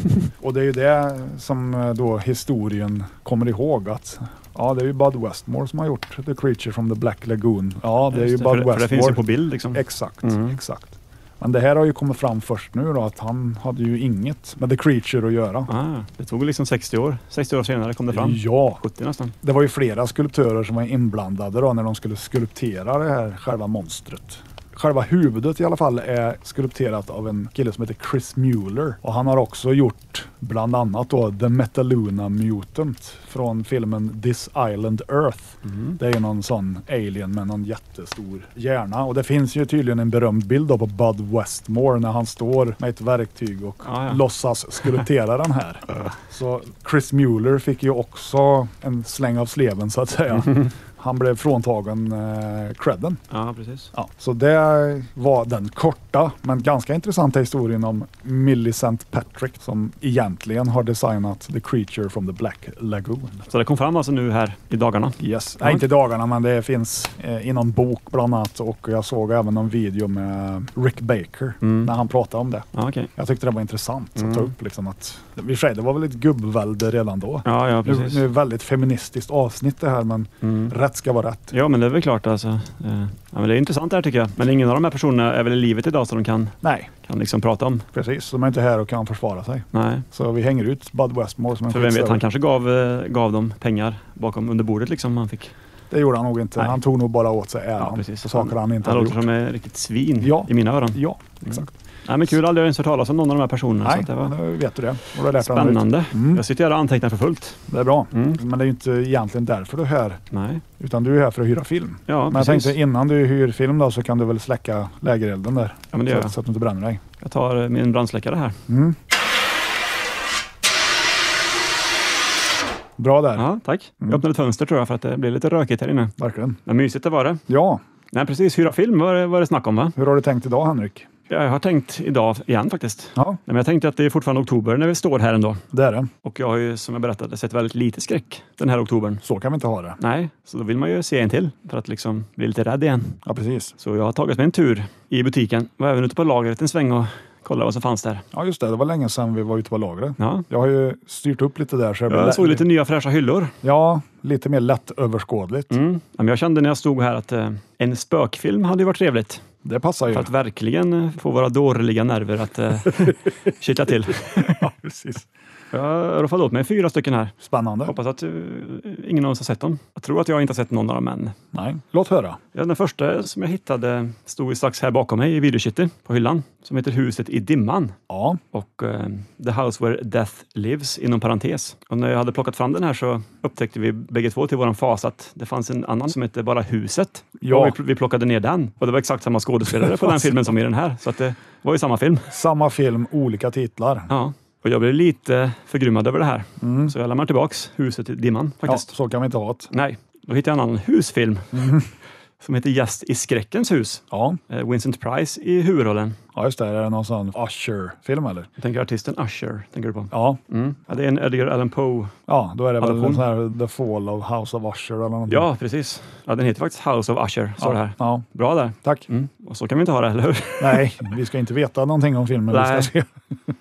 C: Och det är ju det som eh, då historien kommer ihåg att ja, det är ju Bud Westmore som har gjort The Creature from the Black Lagoon. Ja, det är ju
B: Just för,
C: Bud
B: för det finns ju på
C: Westmore.
B: bild liksom.
C: Exakt,
B: Mm.
C: exakt. Men det här har ju kommit fram först nu då att han hade ju inget med The Creature att göra.
B: Ah, det tog liksom 60 år. 60 år senare kom det fram.
C: Ja,
B: 70 nästan.
C: det var ju flera skulptörer som var inblandade då när de skulle skulptera det här själva monstret. Själva huvudet i alla fall är skulpterat av en kille som heter Chris Mueller och han har också gjort bland annat då The Metaluna Mutant från filmen This Island Earth. Det är ju någon sån alien med någon jättestor hjärna och det finns ju tydligen en berömd bild då på Bud Westmore när han står med ett verktyg och
B: Ah, ja.
C: låtsas skulptera den här. Så Chris Mueller fick ju också en släng av sleven så att säga. Han blev fråntagen eh, credden.
B: Ja, precis.
C: Ja, så det var den korta men ganska intressanta historien om Millicent Patrick som egentligen har designat The Creature from the Black Lagoon.
B: Så det kom fram alltså nu här i dagarna.
C: Yes. Nej, inte i dagarna men det finns eh, i någon bok bland annat och jag såg även någon video med Rick Baker
B: Mm.
C: när han pratade om det.
B: Ja, okej.
C: Jag tyckte det var intressant
B: Mm.
C: att ta upp liksom att, i och för sig det var väl ett gubbvälde redan då.
B: Ja, ja,
C: Nu,
B: precis.
C: nu är det väldigt feministiskt avsnitt det här, men
B: Mm.
C: rätt ska vara rätt.
B: Ja, men det är väl klart alltså. Eh, Ja, men det är intressant det här tycker jag. Men ingen av de här personerna är väl i livet idag så de kan,
C: Nej,
B: kan liksom prata om.
C: precis. De är inte här och kan försvara sig.
B: Nej.
C: Så vi hänger ut Bud Westmore som en
B: För vem vet,
C: skitstövel.
B: han kanske gav, eh, gav dem pengar bakom under bordet liksom. Han fick.
C: Det gjorde han nog inte.
B: Nej.
C: Han tog nog bara åt sig
B: Ja,
C: äran ja,
B: precis.
C: för saker han inte
B: Han
C: hade
B: låter
C: gjort.
B: som ett riktigt svin
C: Ja.
B: i mina öron.
C: Ja, exakt.
B: Nej, men kul, aldrig har jag ens hört talas om någon av de här personerna. så
C: Nej,
B: att det var
C: nu vet du det. Och det lät
B: spännande.
C: Mm.
B: Jag sitter här och antecknar för fullt.
C: Det är bra.
B: Mm.
C: Men det är ju inte egentligen därför du är här,
B: Nej.
C: utan du är här för att hyra film.
B: Ja,
C: Men jag
B: precis.
C: tänkte innan du hyr film då så kan du väl släcka lägerelden där.
B: Ja, men det gör
C: så,
B: jag.
C: så att du inte bränner dig.
B: Jag tar eh, min brandsläckare här.
C: Mm. Bra där,
B: Ja, tack.
C: Mm.
B: Jag öppnade ett fönster tror jag för att det blev lite rökigt här inne.
C: verkligen.
B: Men mysigt det var det.
C: Ja,
B: Nej, precis. Hyra film var det, var det snack om va?
C: hur har du tänkt idag Henrik?
B: Jag har tänkt idag igen faktiskt.
C: Ja,
B: Nej, men jag tänkte att det är fortfarande oktober när vi står här ändå.
C: det är det.
B: Och jag har ju som jag berättade sett väldigt lite skräck den här oktobern.
C: Så kan vi inte ha det.
B: Nej, så då vill man ju se en till för att liksom bli lite rädd igen.
C: Ja, precis.
B: Så jag har tagit mig en tur i butiken. Var även ute på lagret en sväng och kollade vad som fanns där.
C: Ja, just det. Det var länge sedan vi var ute på lagret.
B: Ja,
C: Jag har ju styrt upp lite där så det blir
B: jag
C: lä-
B: såg lite nya fräscha hyllor.
C: Ja, lite mer lättöverskådligt.
B: Mm. Ja, men jag kände när jag stod här att eh, en spökfilm hade ju varit trevligt.
C: Det passar ju.
B: För att verkligen eh, få våra dårliga nerver att eh, kittla till.
C: Ja, precis.
B: Jag roffade åt mig fyra stycken här.
C: Spännande.
B: Hoppas att eh, ingen av oss har sett dem. Jag tror att jag inte har sett någon av dem än.
C: Nej, låt höra.
B: Ja, den första som jag hittade stod ju strax här bakom mig i videokittet på hyllan som heter Huset i dimman
C: Ja,
B: och eh, The House Where Death Lives inom parentes. Och när jag hade plockat fram den här så upptäckte vi bägge två till våran fas att det fanns en annan som hette bara Huset.
C: Ja.
B: Och vi, pl- vi plockade ner den och det var exakt samma skådespelare på den filmen som i den här. Så att det var ju samma film.
C: samma film, olika titlar.
B: Ja. Och jag blev lite förgrymmad över det här. Så jag lämnar tillbaks Huset i dimman
C: Mm. Ja, Mm.
B: faktiskt.
C: så kan vi inte ha det.
B: Nej, då hittade jag en annan husfilm som heter Gäst i skräckens hus.
C: Ja,
B: Eh, Vincent Price i huvudrollen.
C: ja just det. Är det någon sån Usher-film eller?
B: Jag tänker artisten Usher. Tänker du på?
C: Ja,
B: Mm. Ja, det är en Edgar Allan Poe.
C: ja då är det väl
B: Adoption.
C: en sån här The Fall of House of Usher eller någonting.
B: Ja, precis. Ja, den heter faktiskt House of Usher. Så det här.
C: Ja,
B: Bra där.
C: tack.
B: Mm. Och så kan vi inte ha det, eller hur?
C: Nej, vi ska inte veta någonting om filmen
B: Nej.
C: vi ska se.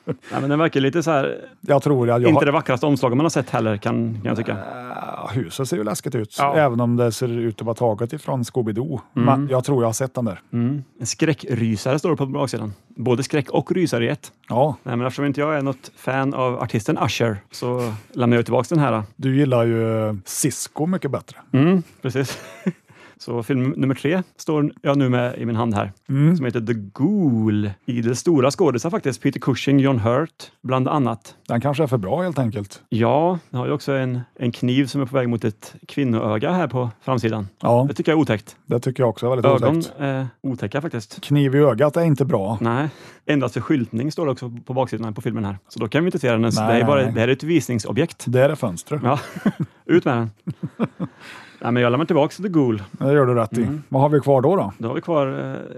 B: Nej, men den verkar lite så här,
C: Jag tror att jag
B: inte
C: har...
B: det vackraste omslaget man har Äh. sett heller kan, kan jag tycka.
C: Ah, Huset ser ju läskigt ut,
B: Ja.
C: även om det ser ut att vara taget ifrån Scooby-Doo. Men jag tror jag har sett den där.
B: Mm. En skräckrysare står det på baksidan. Både skräck och rysare i ett.
C: Ja,
B: Nej, men eftersom inte jag är något fan av artisten Usher så lämnar jag tillbaka den här.
C: du gillar ju eh, Cisco mycket bättre.
B: Mm, precis. Så film nummer tre står jag nu med i min hand här,
C: Mm.
B: som heter The Ghoul. I det stora skådisar faktiskt, Peter Cushing, John Hurt, bland annat.
C: Den kanske är för bra helt enkelt.
B: Ja, den har ju också en, en kniv som är på väg mot ett kvinnoöga här på framsidan.
C: Ja,
B: Det tycker jag är otäckt.
C: det tycker jag också är väldigt
B: Ögon
C: otäckt.
B: är otäcka faktiskt.
C: Kniv i ögat är inte bra.
B: Nej, endast för skyltning står det också på baksidan här på filmen här. Så då kan vi inte se den ens.
C: Nej,
B: det, är
C: nej,
B: bara,
C: nej.
B: det här är ett visningsobjekt.
C: Det är fönstret.
B: Ja, ut med den. Nej, men jag lämnar tillbaka The Ghoul.
C: Det gör du rätt i.
B: Mm.
C: Vad har vi kvar då? då?
B: Då har vi kvar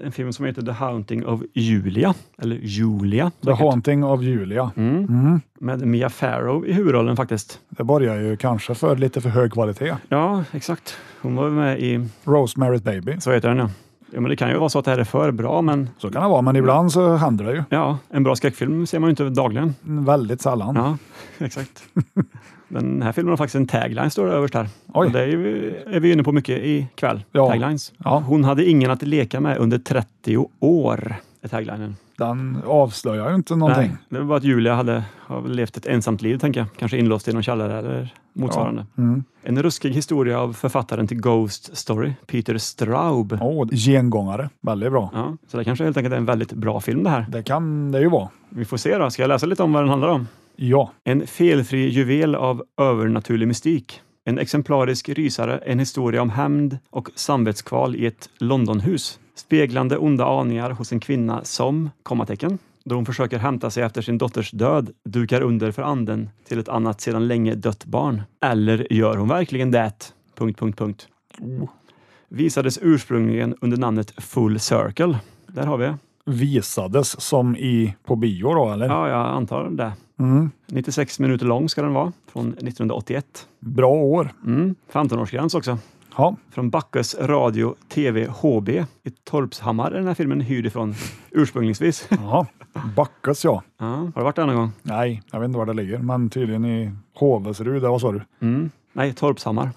B: eh, en film som heter The Haunting of Julia, eller Julia,
C: The
B: säkert, Mm.
C: Haunting of Julia.
B: med Mia Farrow i huvudrollen faktiskt.
C: Det borgar ju kanske för lite för hög kvalitet.
B: Ja, exakt. Hon var ju med i,
C: Rosemary's Baby.
B: så heter den ja. ja men det kan ju vara så att det här är för bra, men
C: Så kan det vara, men ibland så händer det ju.
B: ja, en bra skräckfilm ser man ju inte dagligen.
C: Väldigt sällan.
B: Ja, exakt. Den här filmen har faktiskt en tagline, står det överst här.
C: Oj.
B: Och det är, ju, är vi inne på mycket ikväll.
C: Ja.
B: Taglines.
C: Ja.
B: Hon hade ingen att leka med under 30 år, är taglinen.
C: Den avslöjar ju inte någonting.
B: Nej, det var bara att Julia hade har väl levt ett ensamt liv, tänker jag. Kanske inlåst i någon källare eller motsvarande.
C: Mm.
B: En ruskig historia av författaren till Ghost Story, Peter Straub.
C: Åh, gengångare. Väldigt bra.
B: Ja, så det kanske helt enkelt är en väldigt bra film det här.
C: Det kan det ju vara.
B: Vi får se då. Ska jag läsa lite om vad den handlar om?
C: Ja,
B: En felfri juvel av övernaturlig mystik. En exemplarisk rysare, en historia om hämnd och samvetskval i ett Londonhus. Speglande onda aningar hos en kvinna som, kommatecken, då hon försöker hämta sig efter sin dotters död, dukar under för anden till ett annat sedan länge dött barn. Eller gör hon verkligen det? Punkt, punkt, punkt. Visades ursprungligen under namnet Full Circle. Där har vi det.
C: visades som i på bio då, eller?
B: Ja, jag antar det. 96 minuter lång ska den vara, från 1981.
C: Bra år.
B: Mm, 15-årsgräns också.
C: Ja,
B: Från Backes Radio TV HB i Torpshammar är den här filmen hyrd ifrån ursprunglingsvis.
C: ja. Backes ja.
B: ja, har du varit där någon gång?
C: Nej, jag vet inte var det ligger, men tydligen i Hovesrud, det var så du.
B: Nej, Torpshammar.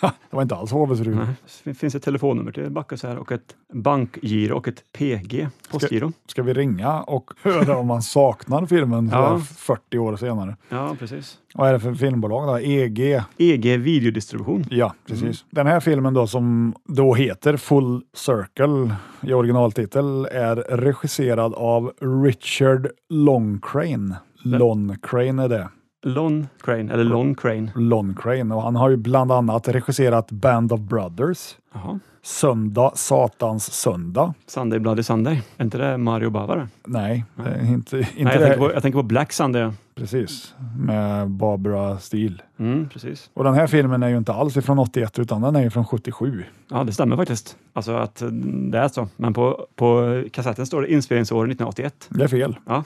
C: Det var inte alls Hovesrud.
B: Det finns ett telefonnummer till Backe så här och ett bankgiro och ett PG, postgiro.
C: Ska vi ringa och höra om man saknar filmen
B: Ja.
C: sådär 40 år senare?
B: Ja, precis.
C: Vad är det för filmbolag då? E EG?
B: EG E videodistribution.
C: Ja, precis. Den här filmen då som då heter Full Circle i originaltitel är regisserad av Richard Longcrane. Loncrane är det.
B: Lon Crane, eller Lon Crane.
C: Loncrane. Och han har ju bland annat regisserat Band of Brothers,
B: Jaha.
C: Söndag, Satans Söndag.
B: Sunday Bloody Sunday. Är inte det Mario Bava? det?
C: Nej, det är inte, inte
B: Mm. Nej, jag
C: det.
B: tänker, på, jag tänker på Black Sunday.
C: Precis, med Barbara Steele.
B: Mm, precis.
C: Och den här filmen är ju inte alls ifrån 81 utan den är ju från 77.
B: Ja, det stämmer faktiskt. Alltså att eh, det är så. Men på, på kassetten står det inspelningsår 1981.
C: Det är fel.
B: Ja.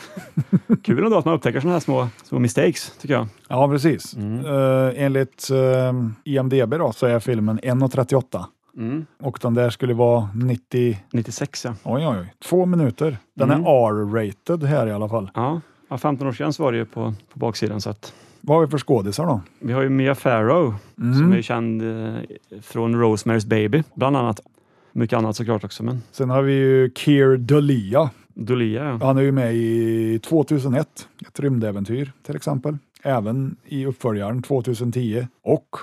B: Kul ändå att man upptäcker sådana här små, små mistakes, tycker jag.
C: Ja, precis. Eh, enligt eh, IMDB då, så är filmen 1.38 och den där skulle vara 90,
B: 96, ja.
C: oj oj, oj, två minuter. Den
B: Mm.
C: är R-rated här i alla fall.
B: Ja, ja 15-årsgräns var det ju på, på baksidan. Så att.
C: Vad har vi för skådisar då?
B: Vi har ju Mia Farrow, som är känd eh, från Rosemary's Baby, bland annat. Mycket annat såklart också, men
C: Sen har vi ju Keir Dulia.
B: Dolia, ja.
C: Han är ju med i 2001, Ett rymdäventyr till exempel. även i uppföljaren 2010 och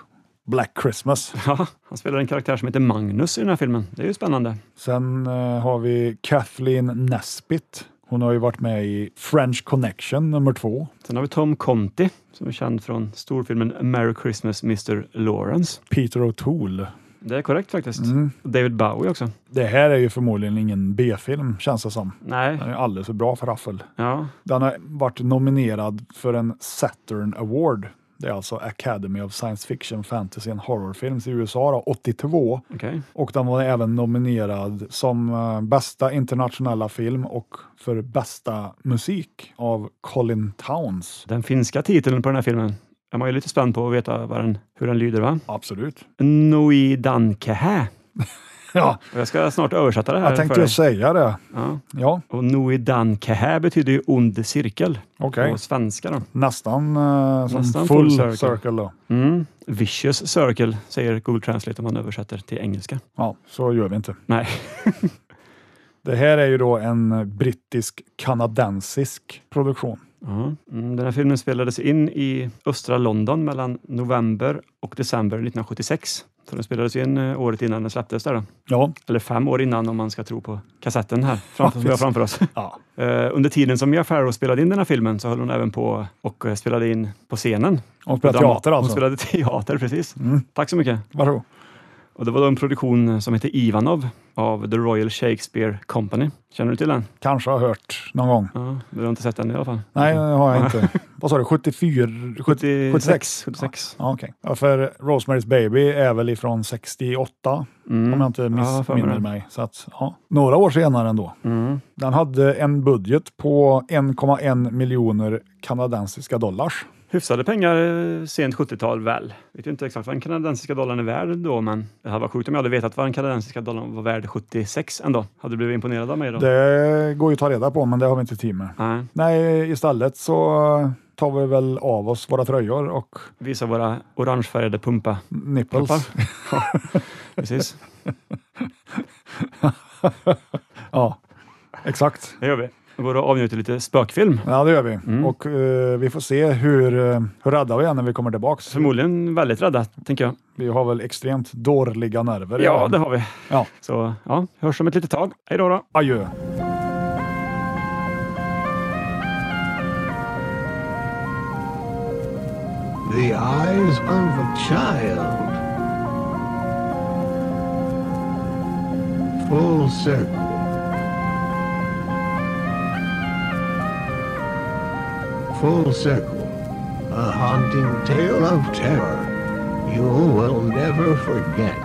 C: Black Christmas.
B: Ja, han spelar en karaktär som heter Magnus i den här filmen. Det är ju spännande.
C: Sen eh, har vi Kathleen Nesbitt. Hon har ju varit med i French Connection nummer två.
B: Sen har vi Tom Conti som är känd från storfilmen Merry Christmas Mr Lawrence.
C: Peter O'Toole.
B: Det är korrekt faktiskt.
C: Mm.
B: David Bowie också.
C: Det här är ju förmodligen ingen B-film känns det som.
B: Nej,
C: Den är alldeles för bra för raffel.
B: ja,
C: Den har varit nominerad för en Saturn Award. Det är alltså Academy of Science Fiction, Fantasy and Horror Films i USA då, 82.
B: okej.
C: Och den var även nominerad som eh, bästa internationella film och för bästa musik av Colin Towns.
B: Den finska titeln på den här filmen är man ju lite spänd på att veta vad den, hur den lyder va?
C: Absolut.
B: Noi Dankehä.
C: Ja,
B: Och jag ska snart översätta det här
C: jag tänkte
B: för
C: ju
B: dig.
C: säga det.
B: Ja.
C: Ja,
B: Och Noi Dankehä betyder ju ond cirkel
C: okej.
B: på svenska. Då.
C: Nästan eh, som
B: Nästan
C: full,
B: full
C: circle.
B: circle.
C: då.
B: Mm. Vicious circle säger Google Translate om man översätter till engelska.
C: Ja, så gör vi inte.
B: Nej,
C: Det här är ju då en eh, brittisk-kanadensisk produktion.
B: Ja. Mm, Den här filmen spelades in i östra London mellan november och december 1976. Så den spelades in eh, året innan den släpptes där. Då.
C: Ja,
B: Eller fem år innan om man ska tro på kassetten här framför, som vi har framför oss.
C: ja.
B: Eh, Under tiden som Mia Farrow spelade in den här filmen så höll hon även på och eh, spelade in på scenen.
C: Hon spelar
B: Drama-
C: teater alltså. Mm.
B: Hon spelade teater, precis. Tack så mycket.
C: Varsågod.
B: Och det var då en produktion som hette Ivanov av The Royal Shakespeare Company. Känner du till den?
C: Kanske har hört någon gång.
B: Ja, du har inte sett den i alla fall?
C: Nej, det har jag inte. Vad sa du? 74? 70, 76?
B: 76.
C: Ja, okej. Ja, för Rosemary's Baby är väl ifrån 68, om jag inte
B: Ja, för mig
C: missminner
B: det.
C: Mm. mig. Mm. Så att, ja. Några år senare ändå. Den hade en budget på 1,1 miljoner kanadensiska dollars.
B: Hyfsade pengar eh, sent 70-tal väl. Vet ju inte exakt vad den kanadensiska dollarn är värd då, men det hade varit sjukt om jag hade vetat vad den kanadensiska dollarn var värd 76 ändå. Hade du blivit imponerad av mig då?
C: Det går ju att ta reda på, men det har vi inte tid med.
B: Nej.
C: Nej, istället så tar vi väl av oss våra tröjor och
B: Visa våra orangefärgade pumpa.
C: nipples.
B: Pumpar. Ja, precis,
C: Ja, exakt.
B: det gör vi. Det går att avnjuta lite spökfilm.
C: Ja, det gör vi.
B: Mm.
C: Och eh, vi får se hur, eh, hur rädda vi är när vi kommer tillbaks.
B: Förmodligen väldigt rädda, tänker jag.
C: Vi har väl extremt dåliga nerver.
B: Ja, det har vi.
C: Ja.
B: Så ja, hörs om ett litet tag. Hej då. då.
C: Adjö.
E: the eyes of a child. Full circle. Full circle. A haunting tale of terror you will never forget.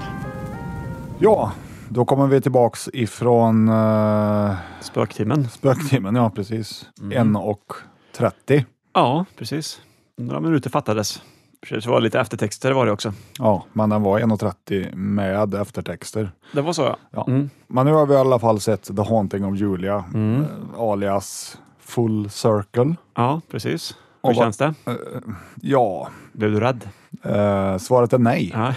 C: Ja, då kommer vi tillbaks ifrån eh,
B: Spöktimmen.
C: spöktimmen. Ja, precis.
B: Mm.
C: En och 30.
B: Ja, precis. Några minuter fattades. Precis, det var lite eftertexter var det också.
C: Ja, men den var 1.30 med eftertexter.
B: Det var så ja.
C: Ja.
B: Mm.
C: Men nu har vi i alla fall sett The Haunting of Julia, eh, alias Full Circle.
B: Ja, precis.
C: Och
B: Hur
C: vad-
B: känns det?
C: Ja,
B: Blev du rädd?
C: eh, svaret är nej.
B: Ja.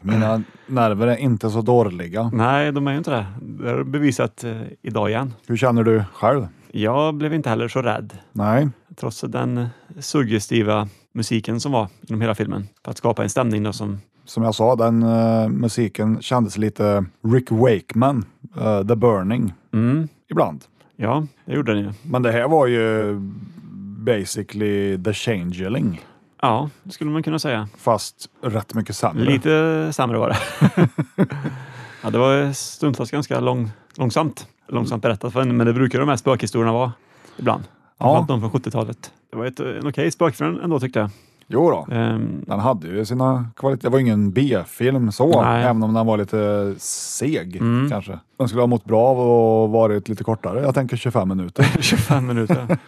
C: Mina nerver är inte så dåliga.
B: Nej, de är ju inte det. Det har du bevisat eh, idag igen.
C: Hur känner du själv?
B: Jag blev inte heller så rädd.
C: Nej.
B: trots den suggestiva musiken som var genom hela filmen för att skapa en stämning då som
C: Som jag sa, den eh, musiken kändes lite Rick Wakeman, eh, The Burning,
B: mm,
C: ibland.
B: ja, det gjorde den ju.
C: Men det här var ju basically The Changeling,
B: Ja, det skulle man kunna säga.
C: fast rätt mycket sämre.
B: Lite sämre var det. ja, det var stundtals ganska lång, långsamt, långsamt berättat, för en, men det brukar de här spökhistorierna vara ibland.
C: Ja,
B: Framförallt de från 70-talet. Det var ett, en okej spökfilm ändå tyckte jag.
C: jo då.
B: Ehm,
C: Den hade ju sina kvaliteter. Det var ingen B-film så,
B: Nej.
C: även om den var lite seg kanske. Den skulle ha mått bra av att varit lite kortare. Jag tänker 25 minuter.
B: 25 minuter.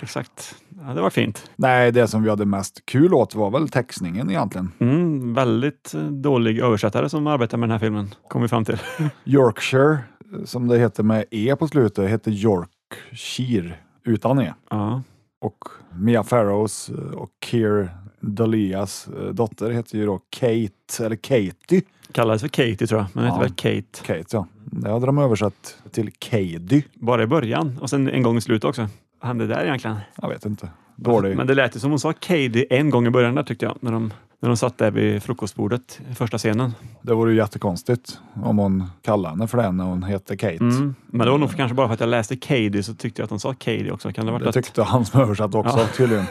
B: Exakt. Ja, det var fint.
C: Nej, det som vi hade mest kul åt var väl textningen egentligen.
B: Mm, väldigt eh, dålig översättare som arbetar med den här filmen, kom vi fram till.
C: Yorkshire, som det heter med E på slutet, heter Yorkshire utan E.
B: Ja,
C: Och Mia Farrows eh, och Keir Dalias dotter heter ju då Kate, eller Katie.
B: kallades för Katie tror jag, men
C: Ja.
B: hette väl Kate
C: Kate ja. Det hade de översatt till Kady.
B: bara i början och sen en gång i slutet också. Vad hände där egentligen?
C: Jag vet inte. Dålig.
B: Men det lät ju som hon sa Katie en gång i början där tyckte jag, när de, när de satt där vid frukostbordet i första scenen.
C: Det vore ju jättekonstigt om hon kallade henne för det när hon hette Kate.
B: Mm. Men det var nog kanske bara för att jag läste Katie så tyckte jag att hon sa Katie också. Kan det ha
C: Det
B: varit att,
C: tyckte han som översatte också tydligen.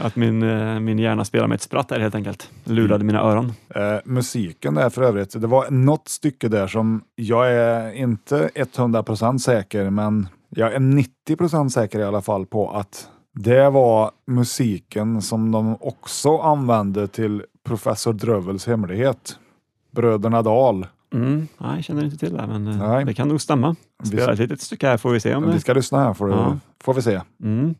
B: att min, eh, min hjärna spelade med ett spratt där helt enkelt.
C: Mm.
B: Lurade mina öron.
C: Eh, musiken där för övrigt, det var något stycke där som jag är inte 100% säker, men jag är 90% säker i alla fall på att det var musiken som de också använde till Professor Drövels hemlighet. Bröderna Dahl.
B: Mm. Nej, jag känner inte till det, här, men eh,
C: Nej.
B: det kan nog stämma.
C: Vi-
B: Spela ett litet stycke här får vi se om
C: Vi
B: det.
C: ska lyssna här får, du,
B: Mm. Ja.
C: får vi se.
B: Mm.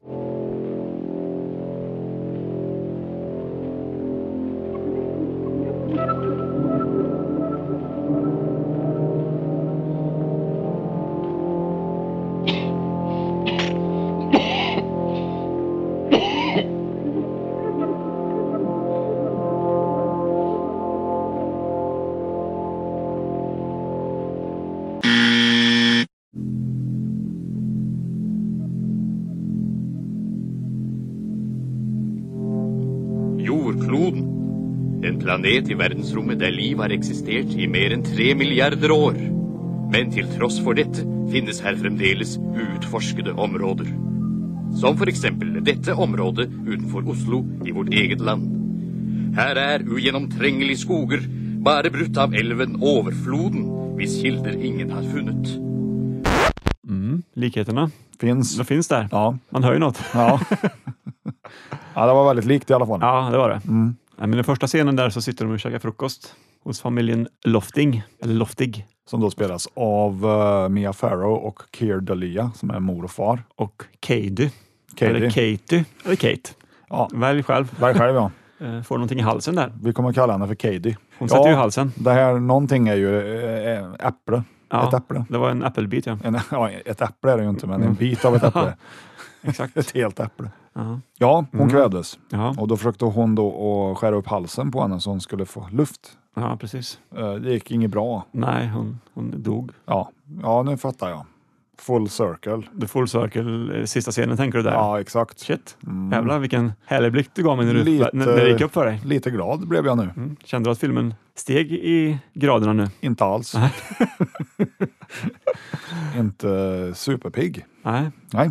F: Jordkloden. En planet i verdensrommet der liv har eksistert i mer enn tre milliarder år. Men til tross for dette finnes her fremdeles uutforskede områder. Som for eksempel dette området utenfor Oslo i vårt eget land. Her er ugjennomtrengelige skoger, bare brutt av elven Overfloden, hvis kilder ingen har funnet.
B: Likheterna,
C: Finns.
B: de finns där.
C: Ja.
B: Man hör ju något.
C: Ja. ja, det var väldigt likt i alla fall.
B: Ja, det var det.
C: Mm.
B: Nej, men den första scenen där så sitter de och käkar frukost hos familjen Lofting. Eller Loftig.
C: Som då spelas av eh, Mia Farrow och Keir Dalia som är mor och far.
B: Och Katie.
C: Katie.
B: Eller Katie. Eller Kate.
C: Ja.
B: Välj själv.
C: Där själv ja.
B: Eh, Får någonting i halsen där.
C: Vi kommer kalla henne för Katie.
B: Hon sätter ju halsen.
C: Det här någonting är ju eh, eh, äpple.
B: Ja,
C: Ett äpple.
B: Det var en äppelbit, ja.
C: En, ja, ett äpple är det ju inte,
B: Mm.
C: men en bit av ett äpple.
B: Exakt.
C: ett helt äpple.
B: Ja. Mm.
C: Ja, hon kvävdes.
B: Ja,
C: Och då försökte hon då att skära upp halsen på henne så hon skulle få luft.
B: ja, precis.
C: Eh, Det gick inget bra.
B: Nej, hon, hon dog.
C: Ja. ja, nu fattar jag. Full circle.
B: The full circle, eh, sista scenen tänker du där?
C: Ja, exakt.
B: Shit, jävlar vilken härlig blick du gav mig när, du,
C: Lite-
B: när, när det gick upp för dig.
C: Lite glad blev jag nu.
B: Mm. Kände du att filmen steg i graderna nu?
C: Inte alls. inte superpigg.
B: Nej,
C: Nej.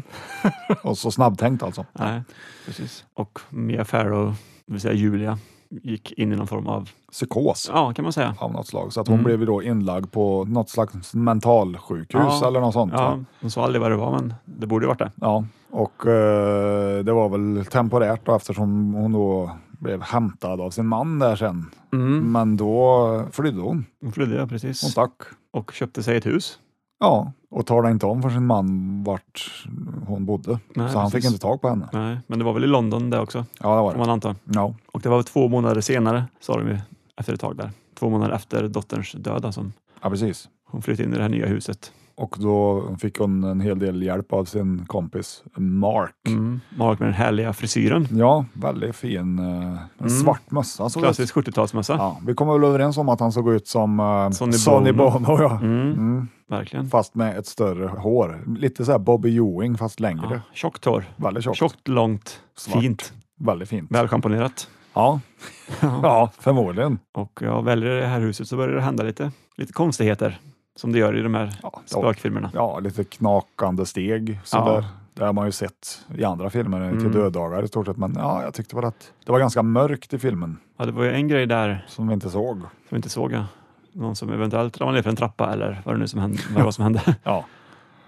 C: Och så snabbtänkt alltså.
B: nej, precis. Och Mia Farrow, det vill säga Julia, gick in i någon form av,
C: Psykos
B: ja kan man säga.
C: av något slag. Så att hon
B: Mm.
C: blev ju då inlagd på något slags mentalsjukhus
B: Ja.
C: eller något sånt.
B: Ja,
C: va?
B: de sa aldrig vad det var, men det borde ju varit det.
C: ja. Och eh, det var väl temporärt då, eftersom hon då blev hämtad av sin man där sen.
B: Mm.
C: Men då flydde hon.
B: Hon flydde, ja,
C: Hon
B: precis.
C: stack.
B: Och köpte sig ett hus.
C: Ja, och talade inte om för sin man vart hon bodde.
B: Nej,
C: så han
B: precis.
C: fick inte tag på henne.
B: Nej, men det var väl i London det också,
C: Ja, det var
B: får
C: det.
B: man anta.
C: Ja.
B: Och det var två månader senare, sa de ju efter ett tag där. Två månader efter dotterns död alltså, som
C: ja, precis.
B: hon flyttade in i det här nya huset.
C: Och då fick hon en hel del hjälp av sin kompis Mark.
B: Mm. Mark med den härliga frisyren.
C: Ja, väldigt fin. eh, En svart mössa såg det ut.
B: Klassisk 70-talsmössa.
C: Ja, vi kommer väl överens om att han såg ut som eh,
B: Sonny
C: Sonny,
B: Bono.
C: Bono. ja.
B: Mm.
C: Mm.
B: Verkligen.
C: Fast med ett större hår. Lite så här Bobby Ewing fast längre.
B: Ja, tjockt hår.
C: Väldigt tjockt.
B: Tjockt, långt,
C: Svart.
B: fint,
C: Väldigt fint.
B: välchamponerat.
C: Ja. ja, förmodligen.
B: Och jag väljer det här huset så börjar det hända lite, lite konstigheter som det gör i de här
C: Ja, det var-
B: spökfilmerna.
C: Ja, lite knakande steg. Så
B: Ja.
C: där. Det har man ju sett i andra filmer eh, till döddagar i stort sett. Men ja, jag tyckte väl att det var ganska mörkt i filmen
B: Ja, det var ju en grej där
C: som vi inte såg.
B: som vi inte såg. ja. Någon som eventuellt ramlade ner för en trappa eller vad det nu som hände. Vad det var som hände.
C: Ja,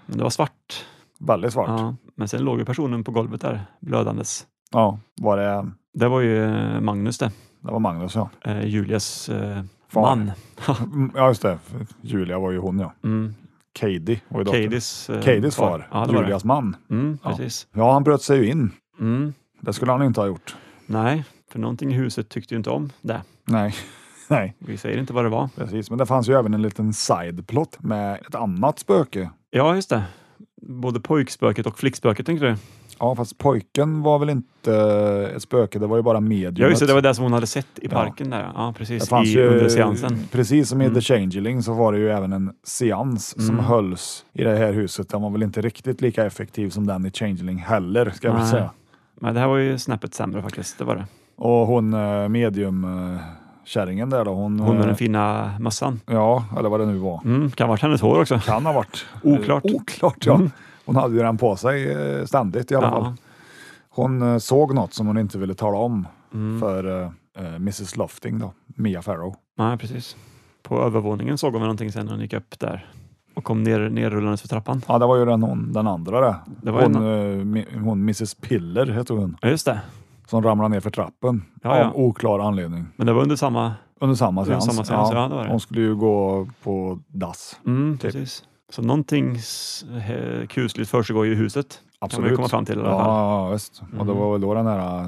B: Men det var svart.
C: väldigt svart.
B: Ja. Men sen låg ju personen på golvet där blödandes.
C: Ja, var det,
B: Det var ju eh, Magnus det,
C: det var Magnus ja.
B: eh, Julias eh,
C: Far.
B: man.
C: Mm, Ja, just det. Julia var ju hon ja.
B: Mm.
C: Katie var ju dottern.
B: Kadis eh,
C: Katies far,
B: Ja, det var det.
C: Julias man.
B: Mm,
C: Ja.
B: precis.
C: Ja, han bröt sig ju in.
B: Mm.
C: Det skulle han inte ha gjort.
B: Nej, för någonting i huset tyckte ju inte om det.
C: Nej. Nej,
B: Vi säger inte vad det var.
C: precis. Men det fanns ju även en liten sideplot med ett annat spöke.
B: Ja, just det. Både pojkspöket och flickspöket tänkte du?
C: Ja, fast pojken var väl inte ett spöke, det var ju bara mediumet.
B: Ja, just det. Det var det som hon hade sett i parken där. Ja,
C: Det
B: precis.
C: fanns
B: I,
C: ju,
B: under seansen.
C: Precis som i
B: Mm.
C: The Changeling så var det ju även en seans som hölls i det här huset. Den var väl inte riktigt lika effektiv som den i Changeling heller, ska jag väl
B: Nej.
C: säga.
B: Men det här var ju snäppet sämre faktiskt. Det var det.
C: Och hon eh, mediumkärringen där då, hon...
B: Hon med
C: eh,
B: den fina mössan.
C: Ja, eller vad det nu var.
B: Mm, kan ha varit hennes hår också.
C: Kan ha varit.
B: Oklart. Mm.
C: Eh, Oklart, ja. Hon hade ju den på sig eh, ständigt i alla fall.
B: Ja.
C: Hon eh, såg något som hon inte ville tala om
B: Mm.
C: för eh, eh, Mrs Lofting då, Mia Farrow.
B: Nej, precis. På övervåningen såg hon väl någonting sen när hon gick upp där och kom ner, nerrullandes för trappan.
C: Ja, det var ju den, hon, den andra där.
B: Det var
C: hon,
B: en-
C: eh, mi- hon Mrs Piller hette hon,
B: Ja, just det.
C: som ramlade ner för trappen
B: Ja, ja.
C: av oklar anledning.
B: Men det var under samma...
C: Under samma
B: Under
C: seans.
B: samma seans, ja, det var det.
C: Hon skulle ju gå på dass.
B: Mm,
C: Typ.
B: precis. Så någonting s- he- kusligt försiggår ju i huset. Kan man
C: Absolut.
B: ju komma fram till i alla fall. Mm.
C: Ja, ja, visst. Och det var väl då den här eh,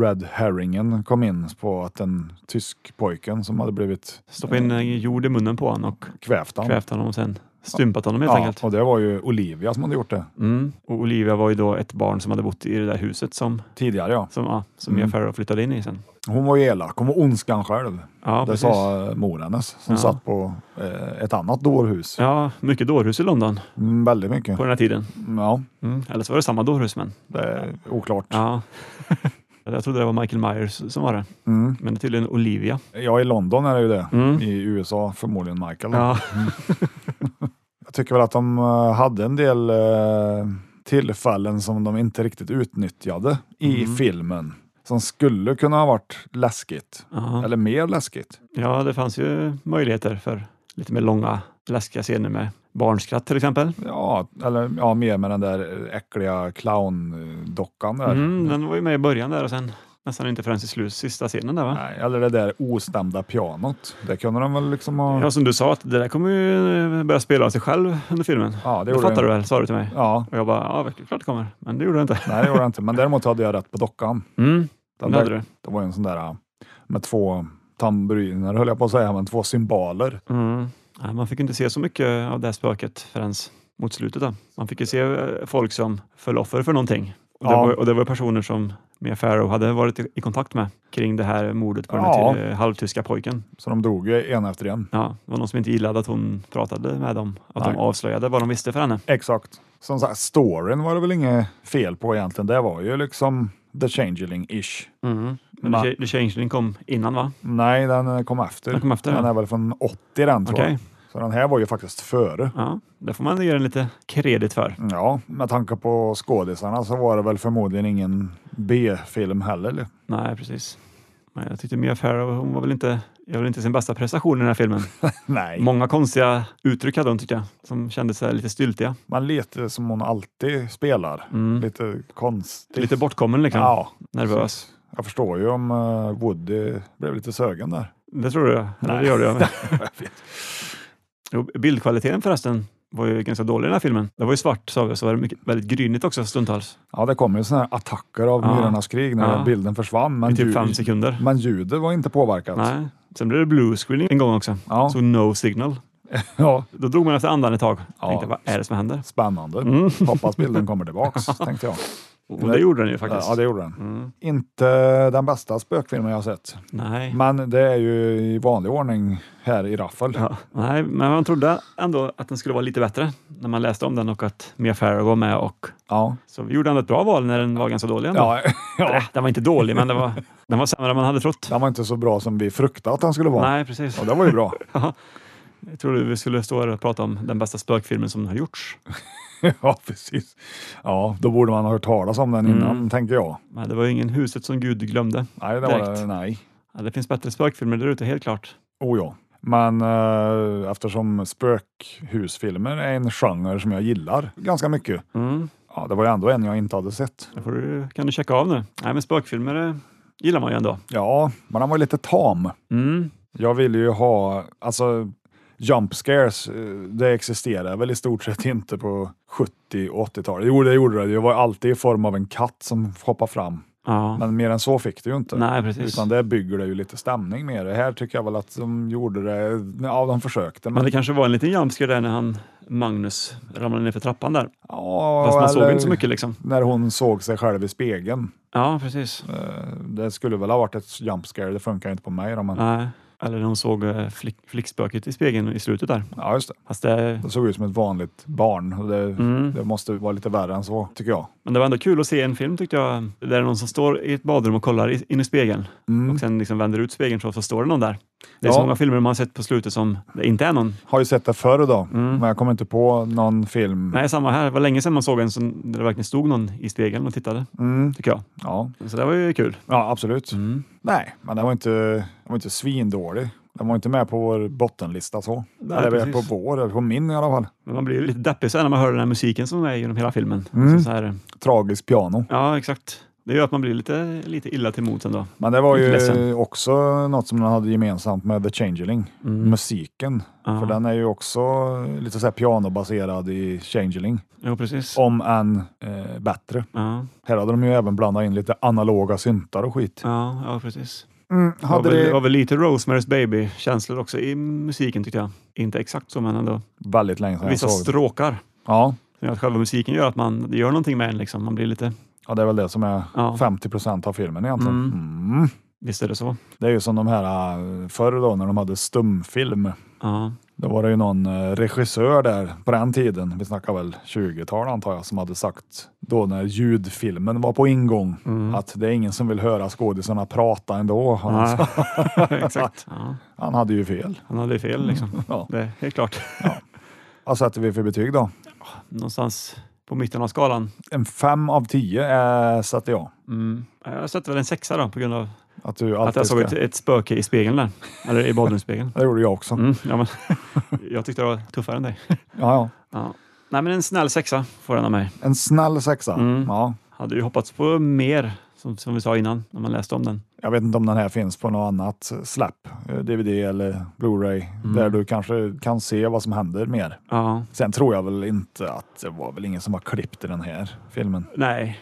C: Red Herringen kom in på att den tysk pojken som hade blivit
B: Stoppa in eh, jord i munnen på honom och
C: kvävt han.
B: kvävt honom och sen stympat honom helt
C: Ja,
B: enkelt.
C: och det var ju Olivia som hade gjort det
B: Mm. Och Olivia var ju då ett barn som hade bott i det där huset som,
C: tidigare. ja.
B: som, ja,
C: Mm.
B: som Mia Farrow flyttade in i sen.
C: Hon var ju elak, hon var ondskan själv.
B: Ja,
C: det
B: precis.
C: sa eh, mor hennes som
B: Ja.
C: satt på eh, ett annat dårhus.
B: Ja, mycket dårhus i London
C: Mm, väldigt mycket.
B: på den här tiden.
C: Ja,
B: Mm. Eller så var det samma dårhus, men
C: det är oklart.
B: ja. Jag trodde det var Michael Myers som var det,
C: Mm.
B: men det är tydligen Olivia.
C: Ja, i London är det ju det.
B: Mm.
C: I USA förmodligen Michael.
B: Ja,
C: Jag tycker väl att de eh, hade en del eh, tillfällen som de inte riktigt utnyttjade i
B: Mm.
C: filmen. Som skulle kunna ha varit läskigt.
B: ja.
C: Eller mer läskigt.
B: ja, det fanns ju möjligheter för lite mer långa, läskiga scener med barnskratt till exempel.
C: Ja, eller ja, mer med den där äckliga clowndockan där.
B: Mm, den var ju med i början där och sen nästan inte förrän i slut, sista scenen där va?
C: Nej, eller det där ostämda pianot. Det kunde de väl liksom ha...
B: Ja, som du sa, att det där kommer ju eh, börja spela av sig själv under filmen.
C: Ja, det
B: det
C: gjorde
B: fattar
C: det.
B: du väl, sa du till mig.
C: Ja,
B: Och jag bara, ja, verkligen, klart det kommer. Men det gjorde det inte.
C: nej det gjorde jag inte. Men däremot hade jag rätt på dockan.
B: Mm,
C: Den
B: det hade
C: där,
B: du.
C: det var ju en sån där äh, med två tamburiner höll jag på att säga, men två cymbaler.
B: Mm. Nej, man fick inte se så mycket av det här spöket förrän mot slutet. Då. Man fick ju se eh, folk som föll offer för någonting. Och det,
C: Ja.
B: var, och det var personer som Mia Farrow hade varit i, i kontakt med kring det här mordet på
C: Ja.
B: den här ty- halvtyska pojken.
C: Så de dog ju en efter en.
B: Ja, det var någon som inte gillade att hon pratade med dem, att de
C: Nej.
B: avslöjade vad de visste för henne.
C: Exakt. Som sagt, storyn var det väl inget fel på egentligen. Det var ju liksom The Changeling-ish.
B: Men
C: Mm. Ma-
B: The Cha- The Changeling kom innan va?
C: Nej, den eh, kom efter.
B: Den kom efter, ja.
C: är väl från 80 den tror
B: Okej.
C: jag. Så den här var ju faktiskt före.
B: Ja, det får man ge den lite kredit för.
C: Ja, med tanke på skådisarna så var det väl förmodligen ingen B-film heller. eller?
B: Nej, precis. Men jag tyckte Mia Farrow, hon var väl inte, jag väl inte sin bästa prestation i den här filmen.
C: Nej,
B: Många konstiga uttryck hade hon tycker jag, som kändes så här lite styltiga.
C: men lite som hon alltid spelar. Lite konstigt.
B: Mm. Lite bortkommen liksom.
C: Mm. Ja,
B: Nervös.
C: jag förstår ju om eh, Woody blev lite sögen där.
B: Det tror du? Nej. Det gör du. ja. Jo, Bildkvaliteten förresten var ju ganska dålig i den här filmen. Det var ju svart sa vi, så var det mycket, väldigt grynigt också stundtals.
C: Ja, det kom ju sådana här attacker av
B: Ja.
C: Myrornas krig när
B: Ja.
C: bilden försvann. Men,
B: I typ
C: ljud-
B: fem sekunder.
C: men ljudet var inte påverkat.
B: Nej. Sen blev det blue screening en gång också.
C: Ja.
B: Så no signal.
C: Ja,
B: Då drog man efter andan ett tag.
C: Ja.
B: Tänkte, vad är det som händer?
C: spännande.
B: Mm.
C: Hoppas bilden kommer tillbaks, tänkte jag.
B: Och det gjorde den ju faktiskt. Mm.
C: Ja, det gjorde den. Inte den bästa spökfilmen jag har sett.
B: Nej.
C: Men det är ju i vanlig ordning här i Raffel.
B: Ja, nej, men man trodde ändå att den skulle vara lite bättre när man läste om den och att Mia Farrow var med. Och,
C: Ja.
B: så vi gjorde ändå ett bra val när den var ganska dålig. Ändå.
C: Ja,
B: Eller, Den var inte dålig, men den var, den var sämre än man hade trott.
C: den var inte så bra som vi fruktade att den skulle vara.
B: Nej, precis.
C: Och det var ju bra.
B: Jag trodde vi skulle stå här och prata om den bästa spökfilmen som har gjorts.
C: ja, precis. Ja, då borde man ha hört talas om den innan,
B: Mm.
C: tänker jag.
B: Men det var ju ingen Huset som Gud glömde.
C: Nej, det var
B: Direkt.
C: nej.
B: Ja, det finns bättre spökfilmer där ute, helt klart.
C: Oh ja. Men eh, eftersom spökhusfilmer är en genre som jag gillar ganska mycket.
B: Mm.
C: Ja, det var ju ändå en jag inte hade sett.
B: Det får du, kan du checka av nu. Nej, men spökfilmer eh, gillar man ju ändå.
C: Ja, men den var ju lite tam.
B: Mm.
C: Jag vill ju ha, alltså jump scares, eh, det existerar väl i stort sett inte på 70 och 80-talet. Jo, det gjorde det. Det var alltid i form av en katt som hoppade fram.
B: Ja.
C: Men mer än så fick det ju inte.
B: Nej, precis.
C: Utan det bygger det ju lite stämning med det. Här tycker jag väl att de gjorde det, ja de försökte. Men,
B: Men det kanske var en liten jumpscare där när han, Magnus ramlade ner för trappan där.
C: ja,
B: Fast man såg
C: eller
B: inte så mycket liksom.
C: När hon såg sig själv i spegeln.
B: Ja, precis.
C: Eh, Det skulle väl ha varit ett jump scare, det funkar ju inte på mig då, men
B: Nej. Eller när hon såg eh, flick, flickspöket i spegeln i slutet där.
C: ja, just det.
B: Fast det,
C: Det såg ut som ett vanligt barn och det,
B: Mm.
C: det måste vara lite värre än så, tycker jag.
B: men det var ändå kul att se en film tyckte jag. Där det är någon som står i ett badrum och kollar i- in i spegeln.
C: Mm.
B: Och sen liksom vänder ut spegeln så, så står det någon där. Det är så
C: Ja. Mm.
B: många filmer man har sett på slutet som det inte är någon.
C: Har ju sett det förr då, men jag kommer inte på någon film.
B: Mm. Nej, samma här. Det var länge sedan man såg en som där det verkligen stod någon i spegeln och tittade,
C: Mm.
B: tycker jag.
C: Ja.
B: Så det var ju kul.
C: ja, absolut.
B: Mm.
C: Nej, men den var inte, den var inte svindålig. Den var inte med på vår bottenlista så.
B: Nej,
C: Eller
B: precis.
C: på vår, eller på min i alla fall.
B: Men man blir ju lite deppig sen när man hör den här musiken som är genom hela filmen.
C: Mm.
B: Så, så här,
C: Tragisk piano.
B: ja, exakt. Det gör att man blir lite, lite illa till mods ändå.
C: Men det var
B: Lite
C: ju
B: ledsen.
C: också något som den hade gemensamt med The Changeling,
B: Mm.
C: musiken.
B: Ja.
C: För den är ju också eh, lite så här pianobaserad i Changeling,
B: Jo, precis.
C: om än eh, bättre.
B: Ja,
C: Här hade de ju även blandat in lite analoga syntar och skit.
B: ja, ja, precis.
C: Mm,
B: Det var,
C: hade
B: väl, det var
C: det
B: väl lite Rosemary's Baby-känslor också i musiken tyckte jag. Inte exakt så, men ändå.
C: väldigt länge sedan jag
B: Vissa
C: såg det.
B: stråkar.
C: Ja,
B: Som gör att själva musiken gör att man det gör någonting med en. Liksom. Man blir lite,
C: ja, det är väl det som är
B: Ja.
C: 50 procent av filmen egentligen.
B: Mm.
C: Mm.
B: visst är det så?
C: Det är ju som de här eh, förr då när de hade stumfilm.
B: Ja,
C: Då var det ju någon eh, regissör där på den tiden, vi snackar väl 20-tal antar jag, som hade sagt då när ljudfilmen var på ingång
B: Mm.
C: att det är ingen som vill höra skådisarna prata ändå. Han,
B: ja. exakt. Ja.
C: han hade ju fel.
B: Han hade ju fel liksom.
C: Ja.
B: Det är helt klart.
C: Vad sätter vi för betyg då?
B: Någonstans på mitten av skalan.
C: En fem av tio eh, sätter jag.
B: Mm. Jag sätter väl en sexa då på grund av
C: Att du
B: att jag
C: alltid
B: såg ett,
C: ska...
B: ett spöke i spegeln där. Eller i badrumsspegeln.
C: Det gjorde jag också.
B: Mm, ja, men, jag tyckte det var tuffare än dig.
C: Ja, ja.
B: Ja. Nej, men en snäll sexa får den av mig.
C: En snäll sexa.
B: Mm.
C: Ja.
B: Hade ju hoppats på mer, som, som vi sa innan, när man läste om den.
C: Jag vet inte om den här finns på något annat släpp, eh, DVD eller Blu-ray,
B: Mm.
C: där du kanske kan se vad som händer mer.
B: Ja.
C: Sen tror jag väl inte att det var väl ingen som har klippt i den här filmen.
B: Nej,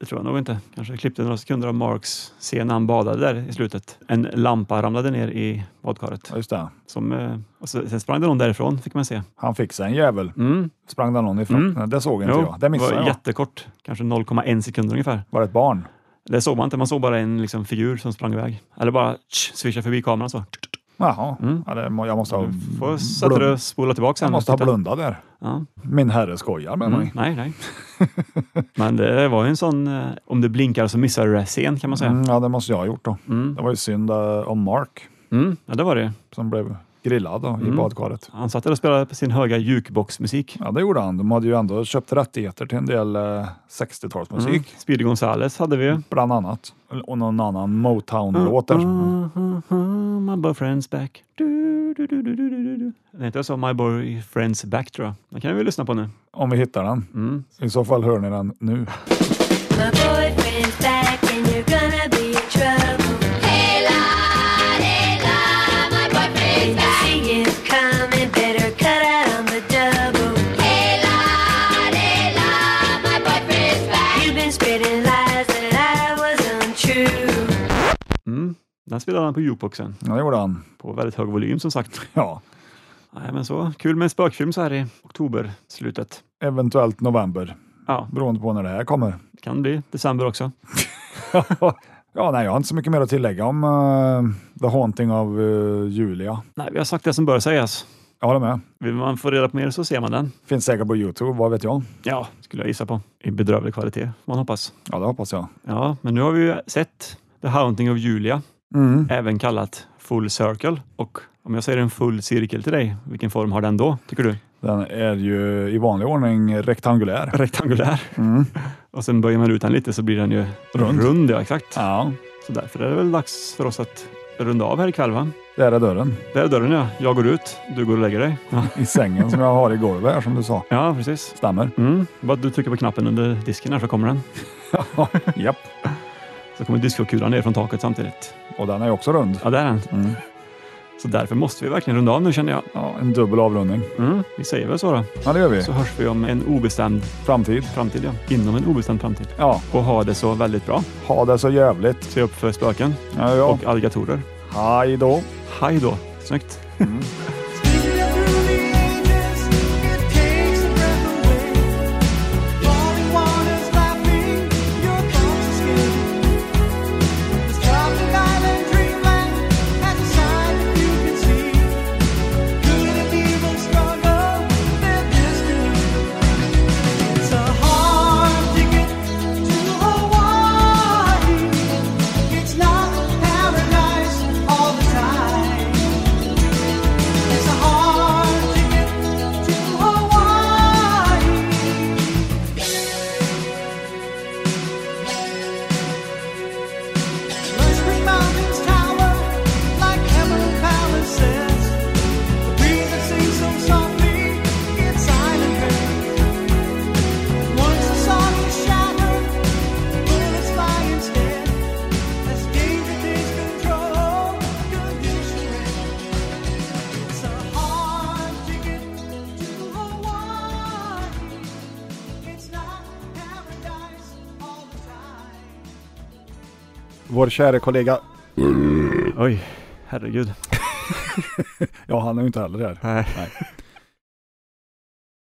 B: det tror jag nog inte. Kanske klippte några sekunder av Marks scen när han badade där i slutet. En lampa ramlade ner i badkaret.
C: Ja, Just det.
B: Som, eh, och så, sen sprang det någon därifrån, fick man se.
C: Han fick sig en jävel.
B: Mm.
C: Sprang den någon ifrån?
B: Mm.
C: Nej, det såg inte jag. Det missade
B: var
C: jag.
B: jättekort. Kanske 0,1 sekunder ungefär.
C: Var det ett barn?
B: Det såg man inte. Man såg bara en liksom, figur som sprang iväg. Eller bara tsch, swishade förbi kameran så.
C: Jaha.
B: Mm.
C: Ja, det, må- jag måste ha,
B: Får sätta dig och spola tillbaka sen.
C: jag Mm. måste ha
B: Titta.
C: blundat där.
B: Ja.
C: Min herre skojar med
B: Mm.
C: mig.
B: Nej, nej. Men det var ju en sån, eh, om det blinkar så missar du det scen kan man säga.
C: Mm, ja, det måste jag ha gjort då.
B: Mm.
C: Det var ju synd eh, om Mark
B: Mm. Ja, det var det.
C: som blev grillad då, i
B: Mm.
C: badkaret.
B: Han satt där och spelade på sin höga jukeboxmusik.
C: Ja, det gjorde han. De hade ju ändå köpt rättigheter till en del eh, 60-talsmusik,
B: Mm. Speedy Gonzales hade vi ju.
C: bland annat. Och någon annan Motown-låt där. Mm.
B: Uh, uh, uh, my boyfriend's back. Du, du, du, du, du, du, du. Den heter så My boyfriend's back tror jag. Den kan vi lyssna på nu.
C: Om vi hittar den.
B: Mm.
C: I så fall hör ni den nu.
G: My boyfriend's back and you're gonna be in trouble. Hey la, hey la, my boyfriend's when back. You see him coming, better cut out on the double. Hey la, hey la, my boyfriend's back. You've been spreading lies that I was untrue.
B: Mm. Den spelade han på jukeboxen.
C: Ja, det gjorde han.
B: På väldigt hög volym som sagt.
C: Ja,
B: Nej, men så Kul med en spökfilm så här i oktober, slutet.
C: eventuellt november,
B: Ja,
C: beroende på när det här kommer.
B: det kan bli december också.
C: ja, nej, jag har inte så mycket mer att tillägga om eh, The Haunting av eh, Julia.
B: Nej, vi har sagt det som bör sägas.
C: Jag håller med.
B: Vill man få reda på mer så ser man den.
C: Finns säkert på Youtube, vad vet jag?
B: Ja, skulle jag gissa på. I bedrövlig kvalitet, får man hoppas.
C: Ja, det hoppas jag.
B: Ja, men nu har vi ju sett The Haunting of Julia,
C: Mm.
B: även kallat Full Circle. Och om jag säger en full cirkel till dig, vilken form har den då, tycker du?
C: Den är ju i vanlig ordning rektangulär.
B: Rektangulär. Och sen böjer man ut den lite så blir den ju
C: Rund.
B: Mm. rund ja, exakt.
C: Ja,
B: Så därför är det väl dags för oss att runda av här ikväll, va?
C: där är dörren.
B: Där är dörren ja. Jag går ut, du går och lägger dig. Ja,
C: I sängen som jag har i golvet här som du sa.
B: ja precis.
C: Stämmer.
B: Mm. Bara att du trycker på knappen under disken här så kommer den.
C: Japp.
B: Så kommer diskokulan ner från taket samtidigt.
C: Och den är ju också rund.
B: Mm. Ja, där är den. Så därför måste vi verkligen runda av nu känner jag.
C: Ja, en dubbel avrundning.
B: Mm, vi säger väl så då.
C: Ja, det gör vi.
B: Så hörs vi om en obestämd
C: Framtid.
B: framtid, ja. Inom en obestämd framtid.
C: Ja,
B: Och ha det så väldigt bra.
C: ha det så jävligt.
B: Se upp för spöken
C: Ja, ja.
B: och alligatorer.
C: Hej då.
B: Hej då! Snyggt!
H: It's not paradise all the time. It's a hard ticket to Hawaii. Western mountains tower like heaven palaces. The breeze that sings so softly, it's silent. Once the song is shattered, bullets fly instead. As danger takes control, conditioning. It's a hard ticket to Hawaii. It's not paradise all the time.
C: Vår käre kollega.
B: Oj, herregud.
C: Ja, han är ju inte heller här.
B: Nej.
C: Nej.